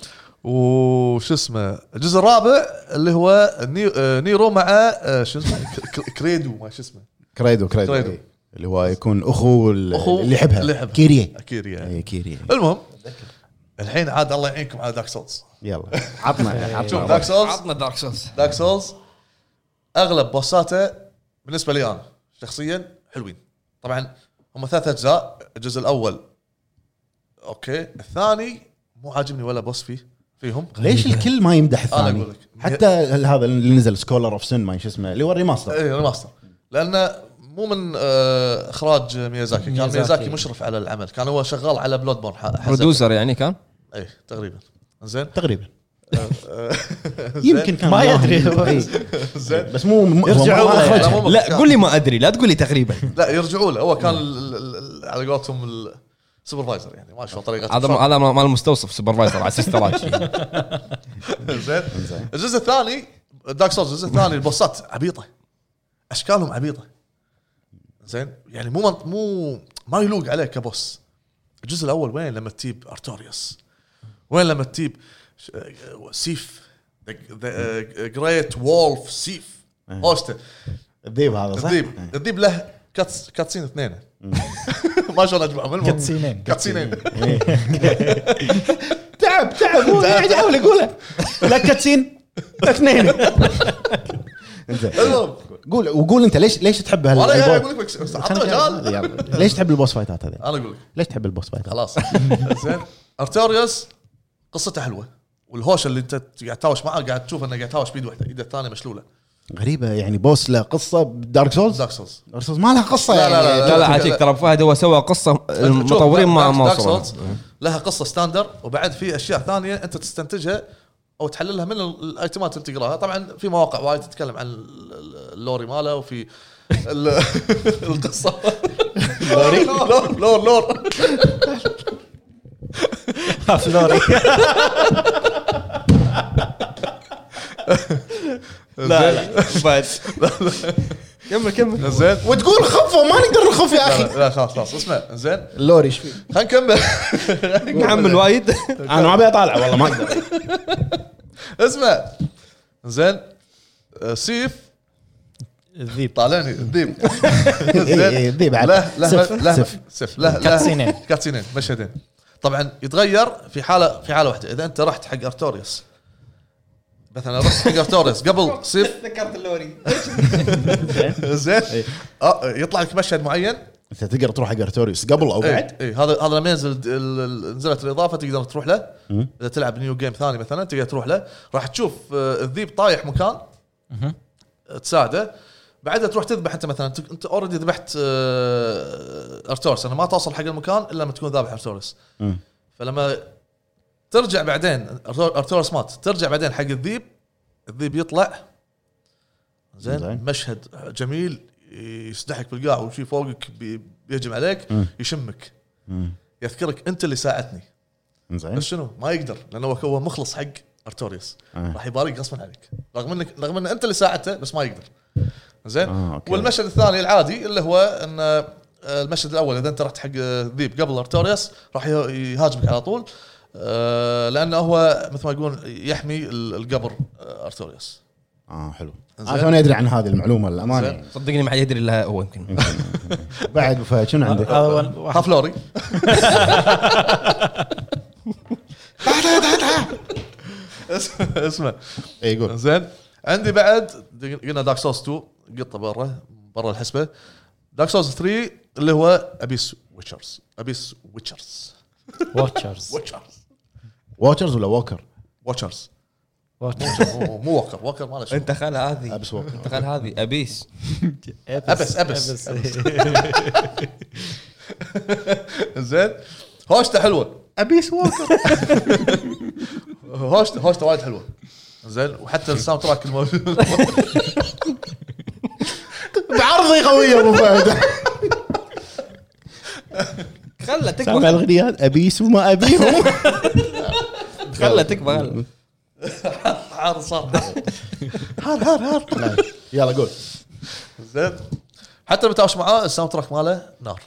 S1: وش اسمه الجزء الرابع اللي هو ني- آه، نيرو مع آه، شو اسمه ك- ك- كريدو ما شو اسمه
S3: كريدو كريدو
S1: كريدو.
S3: إيه. اللي هو يكون اخو ال-
S1: أخو
S3: اللي يحبها
S1: اللي يحبها.
S3: كيريا
S1: اكيد يعني
S3: اي كيريا
S1: المهم الحين عاد الله يعينكم على دارك سولز
S3: يلا [LAUGHS] عطنا
S1: شوف
S3: عطنا
S1: دارك سولز
S4: عطنا دارك سولز
S1: دارك سولز اغلب بوساته بالنسبه لي انا شخصيا حلوين طبعا هم ثلاث اجزاء الجزء الاول اوكي الثاني مو عاجبني ولا بوس فيه فيهم
S3: ليش الكل ما يمدح
S1: أنا
S3: الثاني؟
S1: أقول لك.
S3: حتى ال- هذا اللي نزل سكولر اوف سن ما شو اسمه اللي هو الريماستر
S1: اي ريماستر لانه إيه، مو من آه، اخراج ميازاكي كان
S5: ميازاكي.
S1: ميازاكي مشرف على العمل كان هو شغال على بلود بورن ح- حسب. إيه،
S4: برودوسر يعني كان
S1: اي تقريبا زين
S3: تقريبا
S1: زين.
S3: يمكن كان
S5: ما
S3: معاهم.
S5: يدري.
S3: إيه.
S1: زين
S3: بس مو م- هو
S5: يرجع
S3: ما- ما
S5: هو.
S3: أخرج.
S1: لا، مو
S4: لا
S1: مكان.
S4: قول لي ما ادري لا تقول لي تقريبا
S1: [LAUGHS] [LAUGHS] لا يرجعوا له هو كان ال- ال- ال- على قولتهم السوبرفايزر يعني ما شلون طريقه
S4: هذا هذا مال مستوصف سوبرفايزر على السيسترات
S1: [LAUGHS] زين الجزء الثاني دارك سولز الجزء الثاني البوسات عبيطه اشكالهم عبيطه زين يعني مو منط- مو ما يلوق عليك كبوس الجزء الاول وين لما تجيب ارتوريوس وين لما تجيب ش- آه، سيف آه، جريت وولف سيف اوستن
S3: الذيب هذا صح؟ إيه.
S1: الذيب الذيب له كاتس كاتسين اثنين [LAUGHS] ما شلون اجمعهم المهم.
S5: كاتسينين.
S1: كاتسينين
S3: تعب تعب هو قاعد يحاول يقوله لا كاتسين اثنين
S1: [LAUGHS]
S3: زين.
S1: المهم
S3: قول وقول انت ليش ليش تحب هال
S1: وانا قاعد
S3: البو-
S1: اقول لك بس- بس
S3: خلنا-
S1: عطنا مجال
S3: يلا. ليش تحب البوس فايتات هذه؟
S1: انا اقول لك
S3: ليش تحب البوس فايتات؟
S1: خلاص [LAUGHS] زين ارتوريوس قصته حلوه والهوشه اللي انت قاعد تهاوش معاه قاعد تشوف انه قاعد تهاوش بيد واحده ايده الثانيه مشلوله
S3: غريبه يعني بوس له قصه بدارك سولز
S1: دارك سولز
S3: دارك سولز ما لها قصه
S1: لا،
S3: يعني
S1: لا، لا،
S4: لا لا عجيك ترى أبو فهد هو سوى قصه المطورين ما ما وصلوا
S1: لها قصه ستاندر وبعد في اشياء ثانيه انت تستنتجها او تحللها من ال- الايتمات اللي تقراها طبعا في مواقع وايد تتكلم عن ال- ال- اللوري ماله وفي ال- [LAUGHS] القصه لوري [LAUGHS] لور لور لور
S5: فلوري
S4: لا لا بعد كمل كمل
S1: زين
S3: وتقول خفوا ما نقدر نخف يا
S1: لا
S3: اخي
S1: لا، لا خلاص خلاص اسمع زين
S3: اللوري ايش فيه؟
S1: خلينا نكمل
S4: نحمل وايد
S3: انا ما ابي اطالع والله ما اقدر
S1: اسمع زين آه، سيف
S5: الذيب
S1: طالعني
S3: [LAUGHS]
S1: الذيب
S3: إيه، إيه، الذيب عاد.
S1: له له
S3: سف،
S1: له
S3: سف.
S1: سف له له
S5: كاتسينين.
S1: كاتسينين مشهدين طبعا يتغير في حاله في حاله واحده اذا انت رحت حق ارتوريوس مثلا رحت حق ارتوريوس
S3: [LAUGHS]
S1: قبل سيف [LAUGHS]
S4: ذكرت اللوري
S1: زين آه، يطلع لك مشهد معين
S3: انت تقدر تروح حق ارتوريوس قبل او بعد
S1: اي إيه، هذا هذا لما ينزل د- ال- ال- نزلت الاضافه تقدر تروح له
S3: مم.
S1: اذا تلعب نيو جيم ثاني مثلا تقدر تروح له راح تشوف آه، الذيب طايح مكان
S2: مهم.
S1: تساعده بعدها تروح تذبح انت مثلا انت- انت اوريدي ذبحت آه، ارتورس انا ما توصل حق المكان الا لما تكون ذابح ارتورس
S3: مم.
S1: فلما ترجع بعدين أرتور- ارتورس مات ترجع بعدين حق الذيب الذيب يطلع
S3: زين.
S1: زين مشهد جميل يسدحك بالقاع وشي فوقك بي- بيهجم عليك
S3: مم.
S1: يشمك
S3: مم.
S1: يذكرك انت اللي ساعدتني
S3: زين
S1: بس شنو ما يقدر لانه هو- هو مخلص حق ارتوريوس
S3: آه.
S1: راح يبارك غصبا عليك رغم انك رغم ان انت اللي ساعدته بس ما يقدر زين
S3: آه، أوكي.
S1: والمشهد الثاني العادي اللي هو ان آه، المشهد الاول اذا انت رحت حق آه، ذيب قبل ارتوريوس راح يه- يهاجمك على طول آه، لانه هو مثل ما يقول يحمي ال- القبر آه، ارتوريوس
S3: اه حلو انا
S1: زين.
S3: توني ادري عن هذه المعلومه للامانه
S1: زين.
S4: صدقني ما حد يدري الا هو يمكن
S3: بعد أبو فهد شنو عندك؟
S5: آه،
S2: هذا ون-
S1: [LAUGHS]
S2: واحد-
S1: هافلوري اسمه- اسمه
S3: اي إيه، قول
S1: زين عندي بعد قلنا دارك سوز 2 قطه برا برا الحسبه دارك سوز 3 اللي هو ابيس ويتشرز ابيس ويتشرز
S5: واتشرز
S1: ويتشرز
S3: واتشرز ولا ووكر؟
S1: واتشرز
S5: واتشرز
S1: مو مو ووكر ووكر ما له شغل
S4: انت خل هذه
S3: ابس ووكر
S4: [LAUGHS] انت خل هذه ابيس
S1: أبس- أبس. [LAUGHS] زين هوشته حلوه
S4: ابيس ووكر
S1: هوشته هوشته وايد حلوه زين وحتى الساوند تراك الموجود
S3: [LAUGHS] بعرضي قويه ابو فهد
S4: خله
S3: سامع
S4: تكبر
S3: الاغنيات ابيس وما ابيهم [LAUGHS]
S4: خله تكبر
S1: عار صار
S3: هار هار هار طيب، يلا قول
S1: زين حتى متعاوش معاه الساوند تراك ماله نار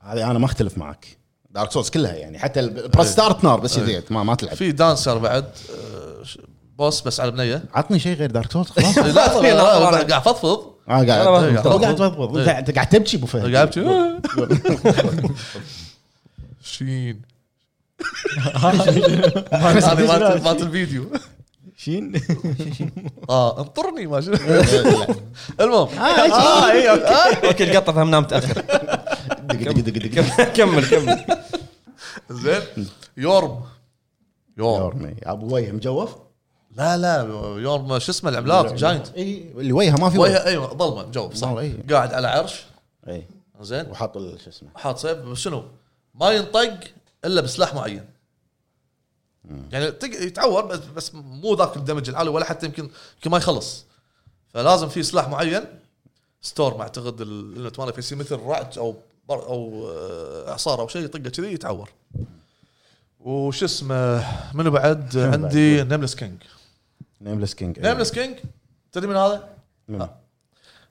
S3: هذه انا ما اختلف معك دارك سولز كلها يعني حتى البرس ستارت نار بس يديت ما ما تلعب
S1: في دانسر بعد آه، ش- بوس بس على بنيه
S3: عطني شيء غير دارك سولز خلاص
S1: لا لا، لا، قاعد افضفض
S3: انا قاعد
S4: أنا ما-
S3: هو قاعد تضبط انت أنت قاعد تبكي ابو فهد
S1: قاعد أبكي.
S3: [LAUGHS]
S1: [LAUGHS] [LAUGHS] شين هذه مالت مالت الفيديو
S2: شين
S1: اه انطرني ما [LAUGHS] شنو
S3: [LAUGHS]
S1: المهم آه، إيه،
S4: اه اي اوكي اوكي القطه فهمناها متاخر
S3: دق دق دق دق
S4: كمل [LAUGHS] كمل كمل
S1: [LAUGHS] زين يورم يورم
S3: يورمي. ابو وجه مجوف
S1: لا لا يورم شو اسمه العملاق جاينت
S3: اي اللي وجهه ما في وجه
S1: وجهه ايوه ظلمه مجاوب صح
S3: ظلمة، أي.
S1: قاعد على عرش
S3: اي
S1: زين
S3: وحاط ال- شو اسمه
S1: حاط سيف بس شنو ما ينطق الا بسلاح معين يعني تق- يتعور بس, بس مو ذاك الدمج العالي ولا حتى يمكن يمكن ما يخلص فلازم في سلاح معين ستورم اعتقد ال- اللي تمارى فيه يصير مثل رعد او بر او آه، اعصار او شيء يطقه كذي يتعور وش اسمه منو بعد
S3: بعد؟ إيه.
S1: عندي نيملس كينج
S3: نيملس كينج
S1: نيملس كينج تدري من هذا؟
S3: آه.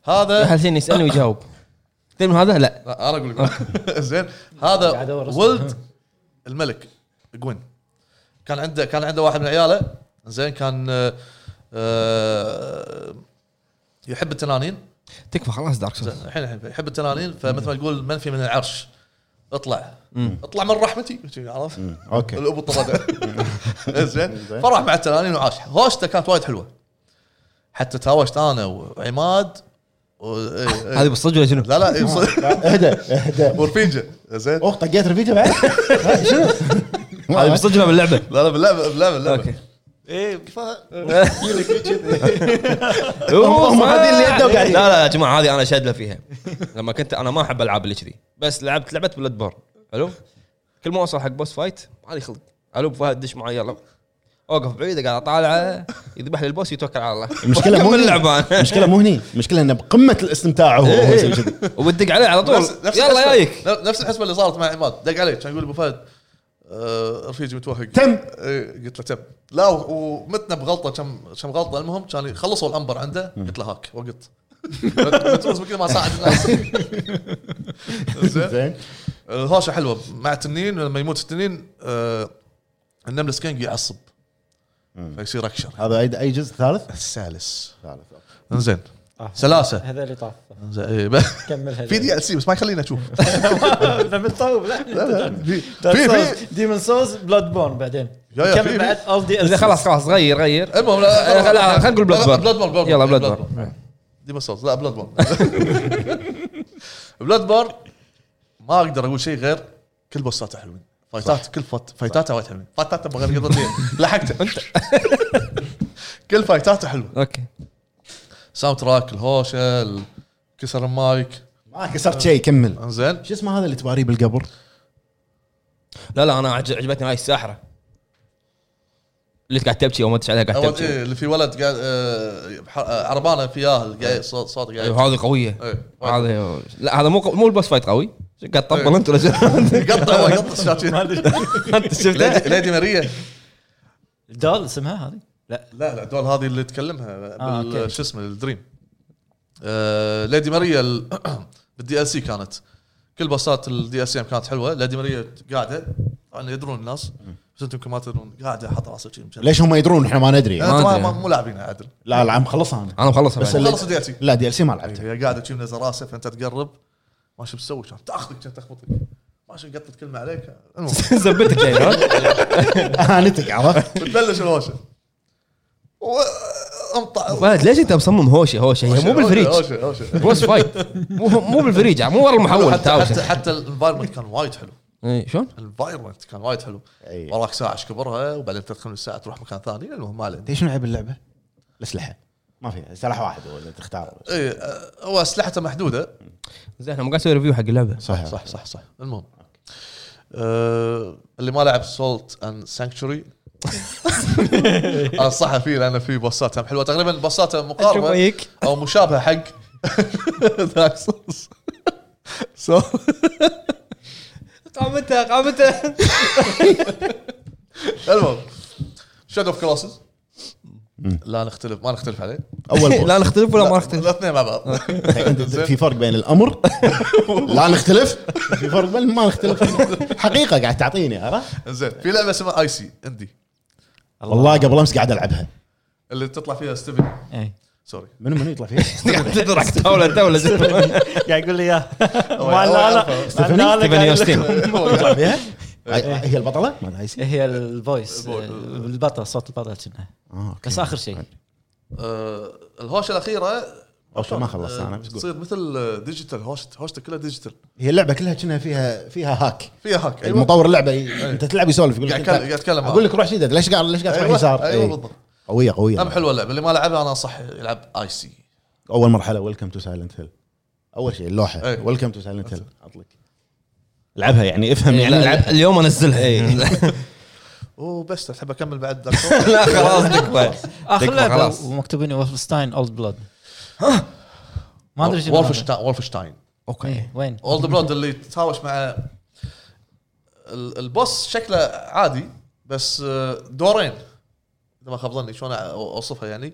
S1: هذا
S4: الحين يسالني ويجاوب تدري من هذا لا
S1: لا، انا اقول لك [LAUGHS] زين هذا
S5: قاعد أدور اسمه.
S1: ولد الملك جوين كان عنده كان عنده واحد من عياله زين كان آه، آه، يحب التنانين
S4: تكفى خلاص دارك
S1: زين،
S4: سولز
S1: الحين الحين يحب التنانين فمثل ما يقول منفي من العرش اطلع اطلع من رحمتي [LAUGHS] عرفت
S3: اوكي
S1: الابو طرده [LAUGHS] زين
S3: زين.
S1: فراح مع التنانين وعاش هوشته كانت وايد حلوه حتى تهاوشت انا وعماد و... إيه، إيه.
S4: هذه بالصج ولا شنو؟
S1: لا لا إيه، صدق.
S3: [LAUGHS]
S1: [LAUGHS]
S3: اهدى اهدى
S1: ورفينجه زين
S3: اوه طقيت رفيجه بعد [LAUGHS] ها، شنو؟
S4: هذه بالصج ولا باللعبه
S1: لا لا باللعبه باللعبه باللعبه إيه،
S2: ايه
S3: هم قاعدين اللي يده
S4: لا
S3: وقاعدين.
S4: لا يا جماعه هذه انا شادله فيها لما كنت انا ما احب العاب اللي كذي بس لعبت لعبه بلاد بورن حلو كل ما اوصل حق بوس فايت ما لي خلق حلو أبو فهد دش معي يلا اوقف بعيد قاعد اطالعه يذبح لي البوس يتوكل على الله
S3: المشكله [LAUGHS] مو
S4: كمل
S3: هني.
S4: اللعبه انا
S3: المشكله مو هني المشكله انه بقمه الاستمتاع هو هو يسوي كذي
S4: وبتدق عليه على طول
S1: نفس- نفس
S4: يلا
S1: الحسبة-
S4: جايك
S1: نفس الحسبه اللي صارت مع عماد دق علي كان يقول ابو فهد آه، رفيجي متوهق
S3: تم.
S1: إيه، قلت له تم لا و- ومتنا بغلطه كم كم غلطه المهم كان خلصوا الانبر عنده قلت له هاك وقت [LAUGHS] متوز من كثر ما ساعد الناس زين
S3: زين
S1: الهوشه حلوه مع التنين لما يموت التنين آه، النملس كينج يعصب فيصير اكشر
S3: هذا اي أي جزء ثالث؟
S1: الثالث
S3: ثالث
S1: انزين
S4: آه.
S1: سلاسه
S5: هذا اللي طاف
S1: إنزين، إيه، [LAUGHS] ب-
S5: كملها [LAUGHS]
S1: في دي ال سي بس ما يخلينا نشوف
S5: لما تطوب لا
S1: في في في
S5: في ديمون سوز بلاد بورن بعدين
S1: يا يا في-
S5: كمل بعد اول دي
S4: إذا
S5: [LAUGHS]
S4: خلاص خلاص غير غير
S1: المهم لا إيه،
S4: خل- لا، خل نقول بلاد بورن.
S1: بلاد بورن
S4: يلا بلاد
S1: [LAUGHS] ديمون سولز لا بلاد بورن بلاد بورن ما اقدر اقول شيء غير كل بوساته حلوين فايتات كل فت... فايتاته وايد حلوين فايتاته بغير قدرتين
S4: [LAUGHS]
S1: لحقته كل فايتاته حلوه
S4: اوكي
S1: ساوند تراك الهوشه ال- كسر المايك
S3: ما كسرت شيء كمل
S1: انزين
S3: شو اسمه هذا اللي تباريه بالقبر؟
S4: لا لا انا عج- عجبتني هاي الساحره اللي قاعد تبكي او ما تدري عليها قاعد
S1: أول
S4: تبكي
S1: إيه اللي في ولد قاعد آه، بح- آه، عربانه في ياهل قاعد صوت صوت قاعد
S4: أيوة، هذه قويه
S1: إيه، وايد.
S4: هذا لا هذا مو قو- مو البوس فايت قوي قاعد تطبل
S1: إيه.
S4: انت ولا شو؟ [LAUGHS]
S1: قطع والله قطع شاشة.
S4: انت شفته
S1: ليدي ليدي ماريا
S5: دال اسمها هذه؟ لا
S1: لا لا دول هذه اللي تكلمها
S5: آه،
S1: بال-
S5: أوكي.
S1: شو اسمه الدريم آه، ليدي ماريا ال- [COUGHS] بالدي ال سي كانت كل باصات الدي ال سي كانت حلوه ليدي ماريا قاعده طبعا يدرون الناس بس انتم يمكن ما تدرون قاعده حاط راسها شي مشلة.
S3: ليش هم يدرون احنا ما ندري يعني.
S1: أنا
S4: ما
S1: طبعاً
S4: أدري.
S1: ما- مو لاعبين عدل
S3: لا العام خلصها انا
S4: انا مخلص
S3: بس
S4: [LAUGHS] بس
S3: اللي-
S1: خلص دي ال سي
S3: لا دي ال سي ما لعبته [LAUGHS]
S1: هي قاعده تجيب منزل راسها فانت تقرب ما شو بتسوي كان تاخذك كان تخبطك ما شو قطت كلمه عليك المهم
S4: زبتك يعني ها؟
S3: اهانتك عرفت؟
S1: بتبلش الهوشه و- امطع
S4: ولد ليش انت مصمم هوشه هوشه هي مو بالفريج
S1: هوشة- هوشة- هوشة.
S4: بوس فايت مو مو بالفريج مو ورا المحول
S1: حتى حتى,
S4: تاوشة.
S1: حتى الانفايرمنت كان وايد حلو
S4: إيه، شلون؟
S1: الانفايرمنت كان وايد حلو
S3: أي.
S1: وراك ساعه اشكبرها وبعدين تدخل الساعه تروح مكان ثاني المهم ما علينا
S3: انت شنو لعب اللعبه؟ الاسلحه ما في سلاح واحد هو اللي تختار
S1: اي آه، هو اسلحته محدوده
S4: زين احنا مو قاعد نسوي ريفيو حق اللعبه
S3: صح
S1: صح صح صح المهم أه اللي ما لعب سولت اند سانكتوري انصحه فيه يعني لانه في بوسات هم حلوه تقريبا بوساته
S4: إيه.
S1: مقاربه
S5: ويك
S1: او مشابهه حق دارك سولز سو
S4: قامته قامته
S1: المهم شادو اوف كلاسز لا نختلف ما نختلف عليه
S3: [LAUGHS] اول بوس.
S4: [LAUGHS] لا نختلف ولا ما نختلف
S1: الاثنين مع بعض
S3: في فرق بين الامر [LAUGHS] لا نختلف في فرق بين ما نختلف حقيقه قاعد تعطيني عرفت؟
S1: زين في لعبه اسمها اي سي اندي
S3: والله قبل امس قاعد العبها
S1: اللي تطلع فيها ستيفن
S5: إيه.
S1: سوري
S3: منو منو يطلع فيها؟
S4: قاعد [LAUGHS] تدرك الطاوله انت ولا زين؟ [LAUGHS]
S5: قاعد يقول لي اياه ما
S1: هو
S5: لا
S1: يعرفه.
S5: لا
S3: ستيفاني؟
S4: ستيفاني أوستين.
S3: يطلع فيها؟ [LAUGHS] هاي- هي البطله؟ ما هاي سي؟
S5: هي [LAUGHS] الفويس
S1: البول.
S5: البطل صوت البطل كنا
S3: آه، أوكي.
S5: بس اخر شيء
S1: آه، الهوشه الاخيره
S3: أوكي، ما خلصت أنا،
S1: آه،
S3: بس قول.
S1: تصير مثل ديجيتال هوشت هوشته كلها ديجيتال
S3: هي اللعبه كلها كنا فيها فيها هاك
S1: فيها هاك أيوة.
S3: المطور اللعبه ي- انت تلعب يسولف يقول لك
S1: قاعد
S3: أنت-
S1: أتكلم- قاعد أتكلم معه.
S3: اقول لك روح شدد ليش قاعد ليش قاعد تروح
S1: أيوة،
S3: يسار؟ إيه.
S1: أيوة،
S3: إي.
S1: بالضبط.
S3: قويه
S1: هم
S3: قويه
S1: حلوه اللعبه اللي ما لعبها انا انصح يلعب اي سي
S3: اول مرحله ويلكم تو سايلنت هيل اول شيء اللوحه
S1: أي.
S3: ويلكم تو سايلنت هيل اطلق العبها يعني افهم يعني
S4: لا، إيه.
S3: العب
S4: لا، اليوم انزلها [LAUGHS]
S1: وبس تحب اكمل بعد [LAUGHS] دارك سولز؟
S4: لا خلاص تكفى
S5: اخر
S4: تكفى،
S5: لعبه
S4: خلاص.
S5: ومكتوبين وولفستاين اولد بلود ما ادري شنو هذا.
S1: وولفشتاين وولفشتاين
S4: اوكي
S5: إيه، وين
S1: اولد بلود اللي تتهاوش مع ال- البوس شكله عادي بس آه، دورين اذا ما خاب ظني شلون أع- اوصفها يعني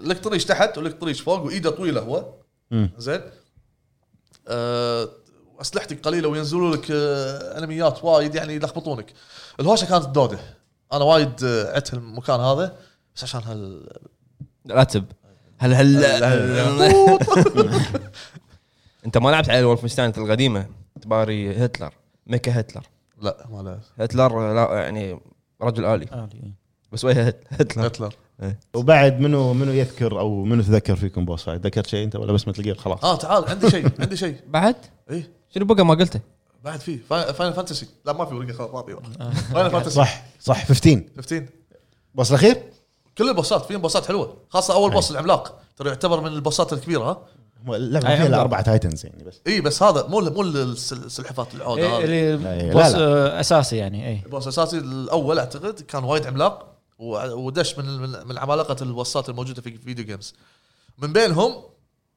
S1: لك طريش تحت ولك طريش فوق وايده طويله هو
S3: مم.
S1: زين آه، اسلحتك قليله وينزلوا لك آه، انميات وايد يعني يلخبطونك الهوشه كانت دوده انا وايد آه، عدت المكان هذا بس عشان هال
S4: لا تب هل [LAUGHS] هل انت ما لعبت على الولفنشتاين القديمه تباري هتلر ميكا هتلر
S1: [LAUGHS] لا ما لا
S4: هتلر لا يعني رجل آلي
S5: آه، إيه.
S4: بس وجهه هت- هتلر
S1: هتلر
S3: وبعد منو منو يذكر او منو تذكر فيكم بوس فايت ذكرت شيء انت ولا بس مثل جير خلاص
S1: اه تعال عندي شيء عندي شيء
S4: بعد
S1: ايه
S4: شنو بقى ما قلته
S1: بعد في فاينل فانتسي لا ما في ورقه خلاص فاضيه فاينل
S3: [LAUGHS]
S1: فانتسي
S3: صح صح 15
S1: 15
S3: بوس الاخير
S1: كل البوسات فيهم بوسات حلوه خاصه اول بوس العملاق ترى يعتبر من البوسات الكبيره ها
S3: هم اللعبه
S5: أي
S3: فيها
S5: عملاق.
S3: اربع تايتنز يعني بس
S1: اي بس هذا مو مو السلحفات العود هذا
S3: إيه،
S5: اللي
S3: لا،
S5: بوس
S3: لا.
S5: آه، اساسي يعني اي
S1: البوس الاساسي الاول اعتقد كان وايد عملاق و- ودش من من- من عمالقه البوسات الموجوده في فيديو جيمز من بينهم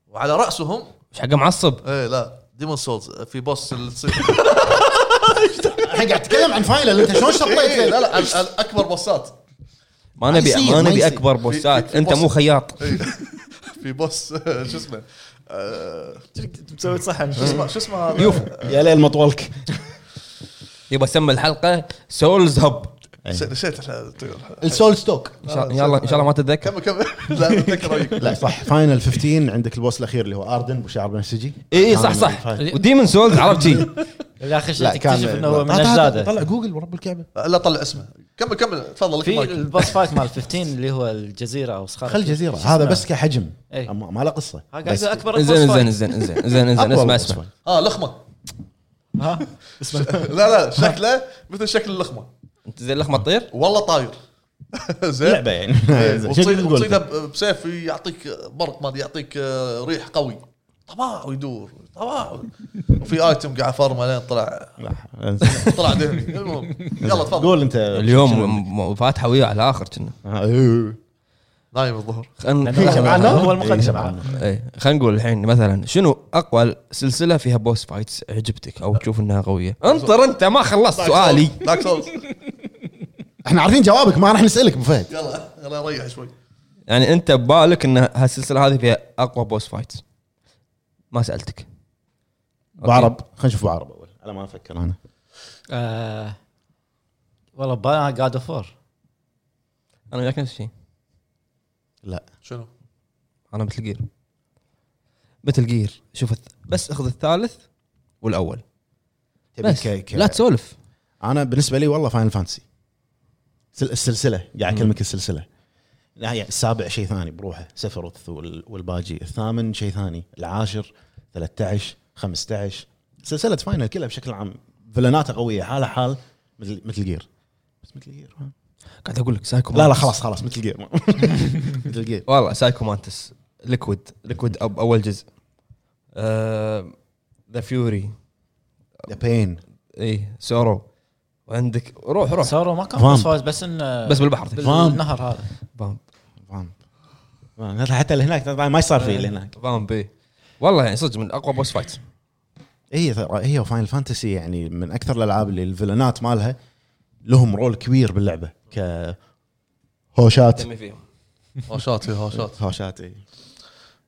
S1: وعلى راسهم
S4: مش حق معصب
S1: ايه لا ديمون سولز في بوس اللي تصير
S3: احنا قاعد نتكلم عن فاينل انت شلون شطيت
S1: إيه،
S3: فيه؟
S1: لا لا ال- ال- اكبر بوسات
S4: ما
S3: ما
S4: نبي
S3: يصير،
S4: ما
S3: ما
S4: نبي
S3: يصير.
S4: اكبر
S1: في-
S4: بوسات
S1: في
S4: انت
S1: بوس.
S4: مو خياط
S1: إيه. في بوس [LAUGHS] شو اسمه آه،
S5: مسوي صحن
S1: شو اسمه شو اسمه هذا؟
S4: يوفو
S3: يا ليل مطولك
S4: يبغى اسمي الحلقه سولز هب
S1: نسيت نسيت الح-
S3: السول ستوك
S4: ان شاء إن شاء الله ان شاء الله ما تتذكر
S1: كمل كمل [LAUGHS] لا اتذكر رايك
S3: لا صح فاينل 15 عندك البوس الاخير اللي هو اردن بشعر بنفسجي
S4: اي إيه، صح صح
S3: آه،
S4: وديمن سولز عرفت شي
S5: اللي اخر شيء تكتشف انه هو من اجداده
S3: طلع جوجل ورب الكعبه
S1: لا طلع اسمه كمل كمل تفضل لك
S5: في
S1: المايك
S5: البوس فايت مال 15 اللي هو الجزيره او صخره
S3: خل جزيره هذا بس كحجم
S5: إي.
S3: ما ما له قصه
S5: هذا
S3: بس
S5: اكبر
S4: زين
S5: البوس
S4: زين
S5: فايت
S4: زين زين زين زين
S3: أقوى
S4: اسمع
S3: بوس
S4: اسمع
S3: فايت.
S1: اه لخمه
S5: ها اسمه
S1: آه، [LAUGHS] لا لا شكله مثل شكل اللخمه
S4: انت زي اللخمه تطير
S1: والله طاير [LAUGHS] زين
S3: لعبه يعني
S1: إيه،
S3: زين، شو
S1: وتصيد-
S3: تقول؟
S1: وتصيده ب- بسيف يعطيك برق ما أدري، يعطيك آه، ريح قوي طباع ويدور طباع وفي ايتم قاعد افرمه لين طلع طلع دهني المهم يلا تفضل
S3: قول انت
S4: اليوم م- م- فاتحه وياه على الاخر كنا
S3: آه، إيه.
S1: نايم الظهر
S4: [LAUGHS] خلينا
S5: معنا هو
S3: إيه،
S5: المقدم
S3: سمعنا.
S4: نقول الحين مثلا شنو اقوى سلسله فيها بوس فايتس عجبتك او تشوف انها قويه انطر انت ما خلصت
S3: طيب،
S4: سؤالي
S1: دارك سولز
S3: احنا عارفين جوابك ما راح نسالك ابو فهد
S1: يلا يلا ريح شوي
S4: يعني انت ببالك ان هالسلسله هذه فيها اقوى بوس فايتس ما سالتك
S3: ابو عرب خلينا نشوف ابو عرب اول على ما افكر انا
S5: آه، والله بانا جاد اوف وور
S4: انا وياك نفس الشيء
S3: لا
S1: [LAUGHS] شنو؟
S4: انا مثل جير مثل جير شوف الث... بس اخذ الثالث والاول
S3: تبي ك-
S4: بس
S3: ك-
S4: لا تسولف
S3: انا بالنسبه لي والله فاينل فانتسي سل- السلسله قاعد اكلمك السلسله لا يعني السابع شيء ثاني بروحه سفروث وال- والباجي الثامن شيء ثاني العاشر 13 15 سلسله فاينل كلها بشكل عام فلاناتها قويه حالها حال مثل مثل جير بس مثل جير ما-
S4: قاعد اقول لك سايكو
S3: لا لا
S4: مانتس.
S3: خلاص خلاص مثل جير ما- [LAUGHS] مثل جير
S4: والله سايكو مانتس ليكويد ليكويد اب اول جزء آه، ذا فيوري
S3: ذا بين
S4: اي سورو وعندك إيه، روح روح
S5: سورو ما كان
S3: فام.
S5: بس فايز بس انه
S4: بس بالبحر
S3: فام.
S5: بالنهر هذا
S4: بام
S3: حتى اللي هناك ما يصير فيه اللي هناك
S4: بام بي والله يعني صدق من اقوى بوس فايت
S3: هي ترى إيه، هي وفاينل فانتسي يعني من اكثر الالعاب اللي الفلانات مالها لهم رول كبير باللعبه ك هوشات
S4: دمي فيهم
S1: هاشات هي هاشات
S3: هوشات اي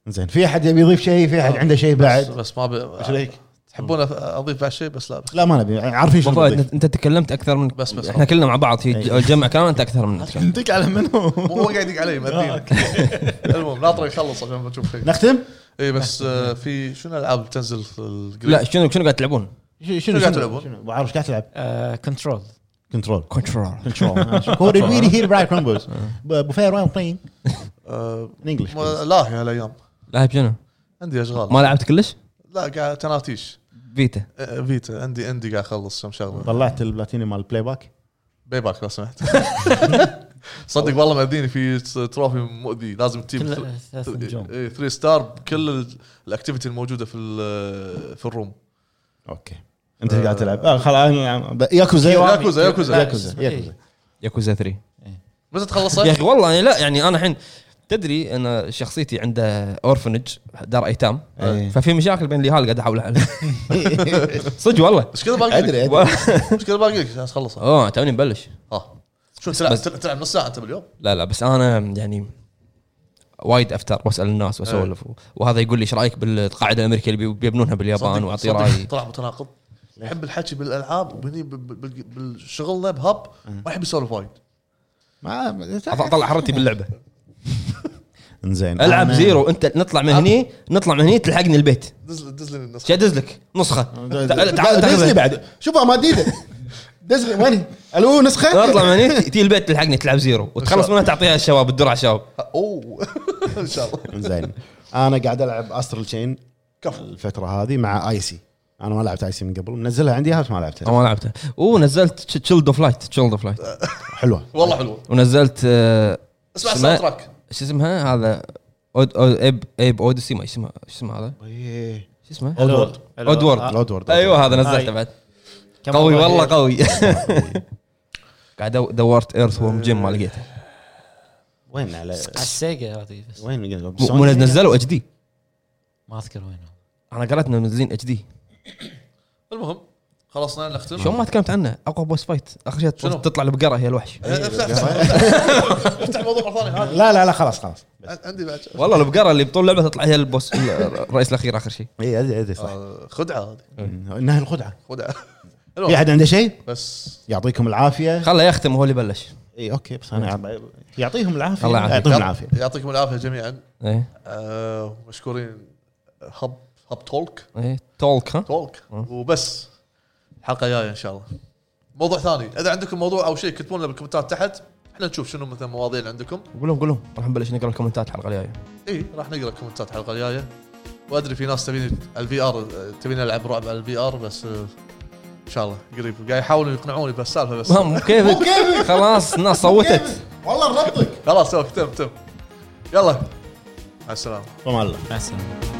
S3: زين في احد يبي يضيف شيء في احد عنده شيء
S1: بس,
S3: بعد
S1: بس ما ب...
S3: ايش رايك؟
S1: تحبون أف- اضيف بعد شيء بس لا
S3: لا ما نبي عارفين شو
S4: أبو فهد،
S3: نضيف.
S4: انت أنت تكلمت اكثر من
S1: بس- بس.
S4: احنا كلنا مع بعض في
S3: إيه.
S4: الجمع كلام انت اكثر من نتكلم.
S3: ندق على منو
S1: هو قاعد يدق علي مدين [LAUGHS] المهم ناطره يخلص عشان بنشوف شيء
S3: نختم
S1: اي بس آه، في شنو الالعاب تنزل في القريب؟
S4: لا شنو شنو قاعد تلعبون؟
S3: شنو
S1: شنو قاعد تلعبون؟
S3: شنو؟ ابو عارف ايش قاعد تلعب؟
S5: آه،
S3: آه،
S5: كنترول
S3: كنترول
S4: كنترول
S3: [LAUGHS] كنترول هو ريلي هير برايت كومبوز ابو فهد وين بلاين
S1: آه،
S3: ان انجلش
S1: ما- لاهي هالايام
S4: لاعب شنو؟
S1: عندي اشغال
S4: ما لعبت كلش؟
S1: لا قاعد تناتيش
S4: فيتا
S1: آه، فيتا عندي عندي قاعد اخلص كم شغله
S3: طلعت البلاتيني مال البلاي باك
S1: باي باك لو سمحت [LAUGHS] صدق والله مأذيني في تروفي مؤذي لازم تجيب ث-
S5: كل ثلاث نجوم
S1: إيه، 3 ستار بكل ال- الاكتيفيتي الموجوده في ال- في الروم
S3: اوكي انت قاعد تلعب آه، خلاص أنا- ياكوزا
S5: إيه.
S1: ياكوزا ياكوزا
S3: ياكوزا [LAUGHS] ياكوزا
S4: ياكوزا 3
S1: متى
S4: يا
S1: تخلصه؟
S4: اخي والله يعني لا يعني انا الحين تدري انا شخصيتي عنده اورفنج دار ايتام
S3: إيه.
S4: ففي مشاكل بين اليهال قاعد احاول احلها [LAUGHS] صدق والله
S1: ايش كذا باقي لك؟
S3: ادري ادري
S4: و-
S1: ايش كذا باقي لك عشان تخلصها؟
S4: اوه توني مبلش
S1: اه شو تلعب
S4: آه. بس-
S1: تلعب نص ساعه انت باليوم؟
S4: لا لا بس انا يعني وايد افتر واسال الناس واسولف
S1: إيه.
S4: وهذا يقول لي ايش رايك بالقاعده الامريكيه اللي بيبنونها باليابان
S1: صدق-
S4: واعطي
S1: صدق
S4: رايي
S1: [LAUGHS] طلع متناقض يحب الحكي بالالعاب وهني ب- ب- بال- بالشغلنا بهب ما يحب يسولف وايد
S3: ما
S4: أط- اطلع حرتي باللعبه
S3: انزين
S4: العب
S3: أنا-
S4: زيرو انت نطلع من هني نطلع من هني تلحقني البيت
S1: دز دز لي النص
S4: شو ادز لك نسخه
S3: لا،
S4: تعال تعال
S3: دزني
S4: تاخذها.
S3: بعد شوفها مديده دزني وين الو نسخه
S4: نطلع من هني تي البيت تلحقني تلعب زيرو وتخلص منها تعطيها الشباب الدرع الشباب
S1: [LAUGHS] اوه ان شاء الله
S3: زين انا قاعد العب استرال تشين
S1: كفو
S3: الفتره هذه مع ايسي انا ما لعبت ايسي من قبل منزلها عندي هات ما لعبتها
S4: ما لعبتها ونزلت تشيلد اوف لايت تشيلد اوف لايت
S3: حلوه
S1: والله حلوه
S4: ونزلت آه،
S1: آه. اسمع
S4: اسمها-
S1: الساوند تراك
S4: شو اسمها هذا أود أود ايب ايب اوديسي ما اسمها شو اسمها هذا شو اسمه
S3: اودورد
S4: اودورد
S3: اودورد
S4: ايوه هذا نزلته
S5: أي.
S4: بعد قوي [LAUGHS] والله قوي قاعد أدو- دورت ايرث وورم جيم ما لقيته
S3: وين على
S5: على السيجا هذه بس
S3: وين
S4: مو- مو نزلوا اتش دي
S5: ما اذكر وينه
S4: انا قرأت انه منزلين اتش دي
S1: المهم خلصنا نختم
S4: شلون ما تكلمت عنه اقوى بوس فايت اخر شيء
S1: شنو؟
S4: تطلع البقره هي الوحش
S1: أه، افتح افتح افتح موضوع ثاني هذا
S3: لا لا لا خلاص خلاص
S1: عن- عندي بعد شيء.
S4: والله البقره اللي بطول اللعبه تطلع هي البوس الرئيس الاخير اخر شيء
S3: اي ادري ادري إيه، صح
S1: آه، خدعه هذه
S3: انها الخدعه
S1: خدعه
S3: في احد عنده شيء
S1: بس
S3: يعطيكم العافيه
S4: خله يختم وهو اللي بلش
S3: اي اوكي بس انا يعطيهم العافيه
S4: الله يعافيك.
S3: يعطيهم العافيه
S1: يعطيكم العافيه جميعا
S4: ايه
S1: آه، مشكورين هب هب تولك
S4: ايه تولك ها
S1: تولك وبس الحلقه جايه ان شاء الله موضوع ثاني اذا عندكم موضوع او شيء كتبوا لنا بالكومنتات تحت احنا نشوف شنو مثلا مواضيع اللي عندكم
S4: قول لهم قول لهم راح نبلش نقرا الكومنتات الحلقه الجايه
S1: اي راح نقرا الكومنتات الحلقه الجايه وادري في ناس تبيني الفي ار تبيني العب رعب على الفي ار بس آه، ان شاء الله قريب قاعد يحاولون يقنعوني بهالسالفه بس
S4: مو كيفك
S3: كيفك.
S4: خلاص الناس صوتت
S3: والله نربطك
S1: خلاص تم تم يلا مع السلامه
S3: فما الله
S5: مع السلامه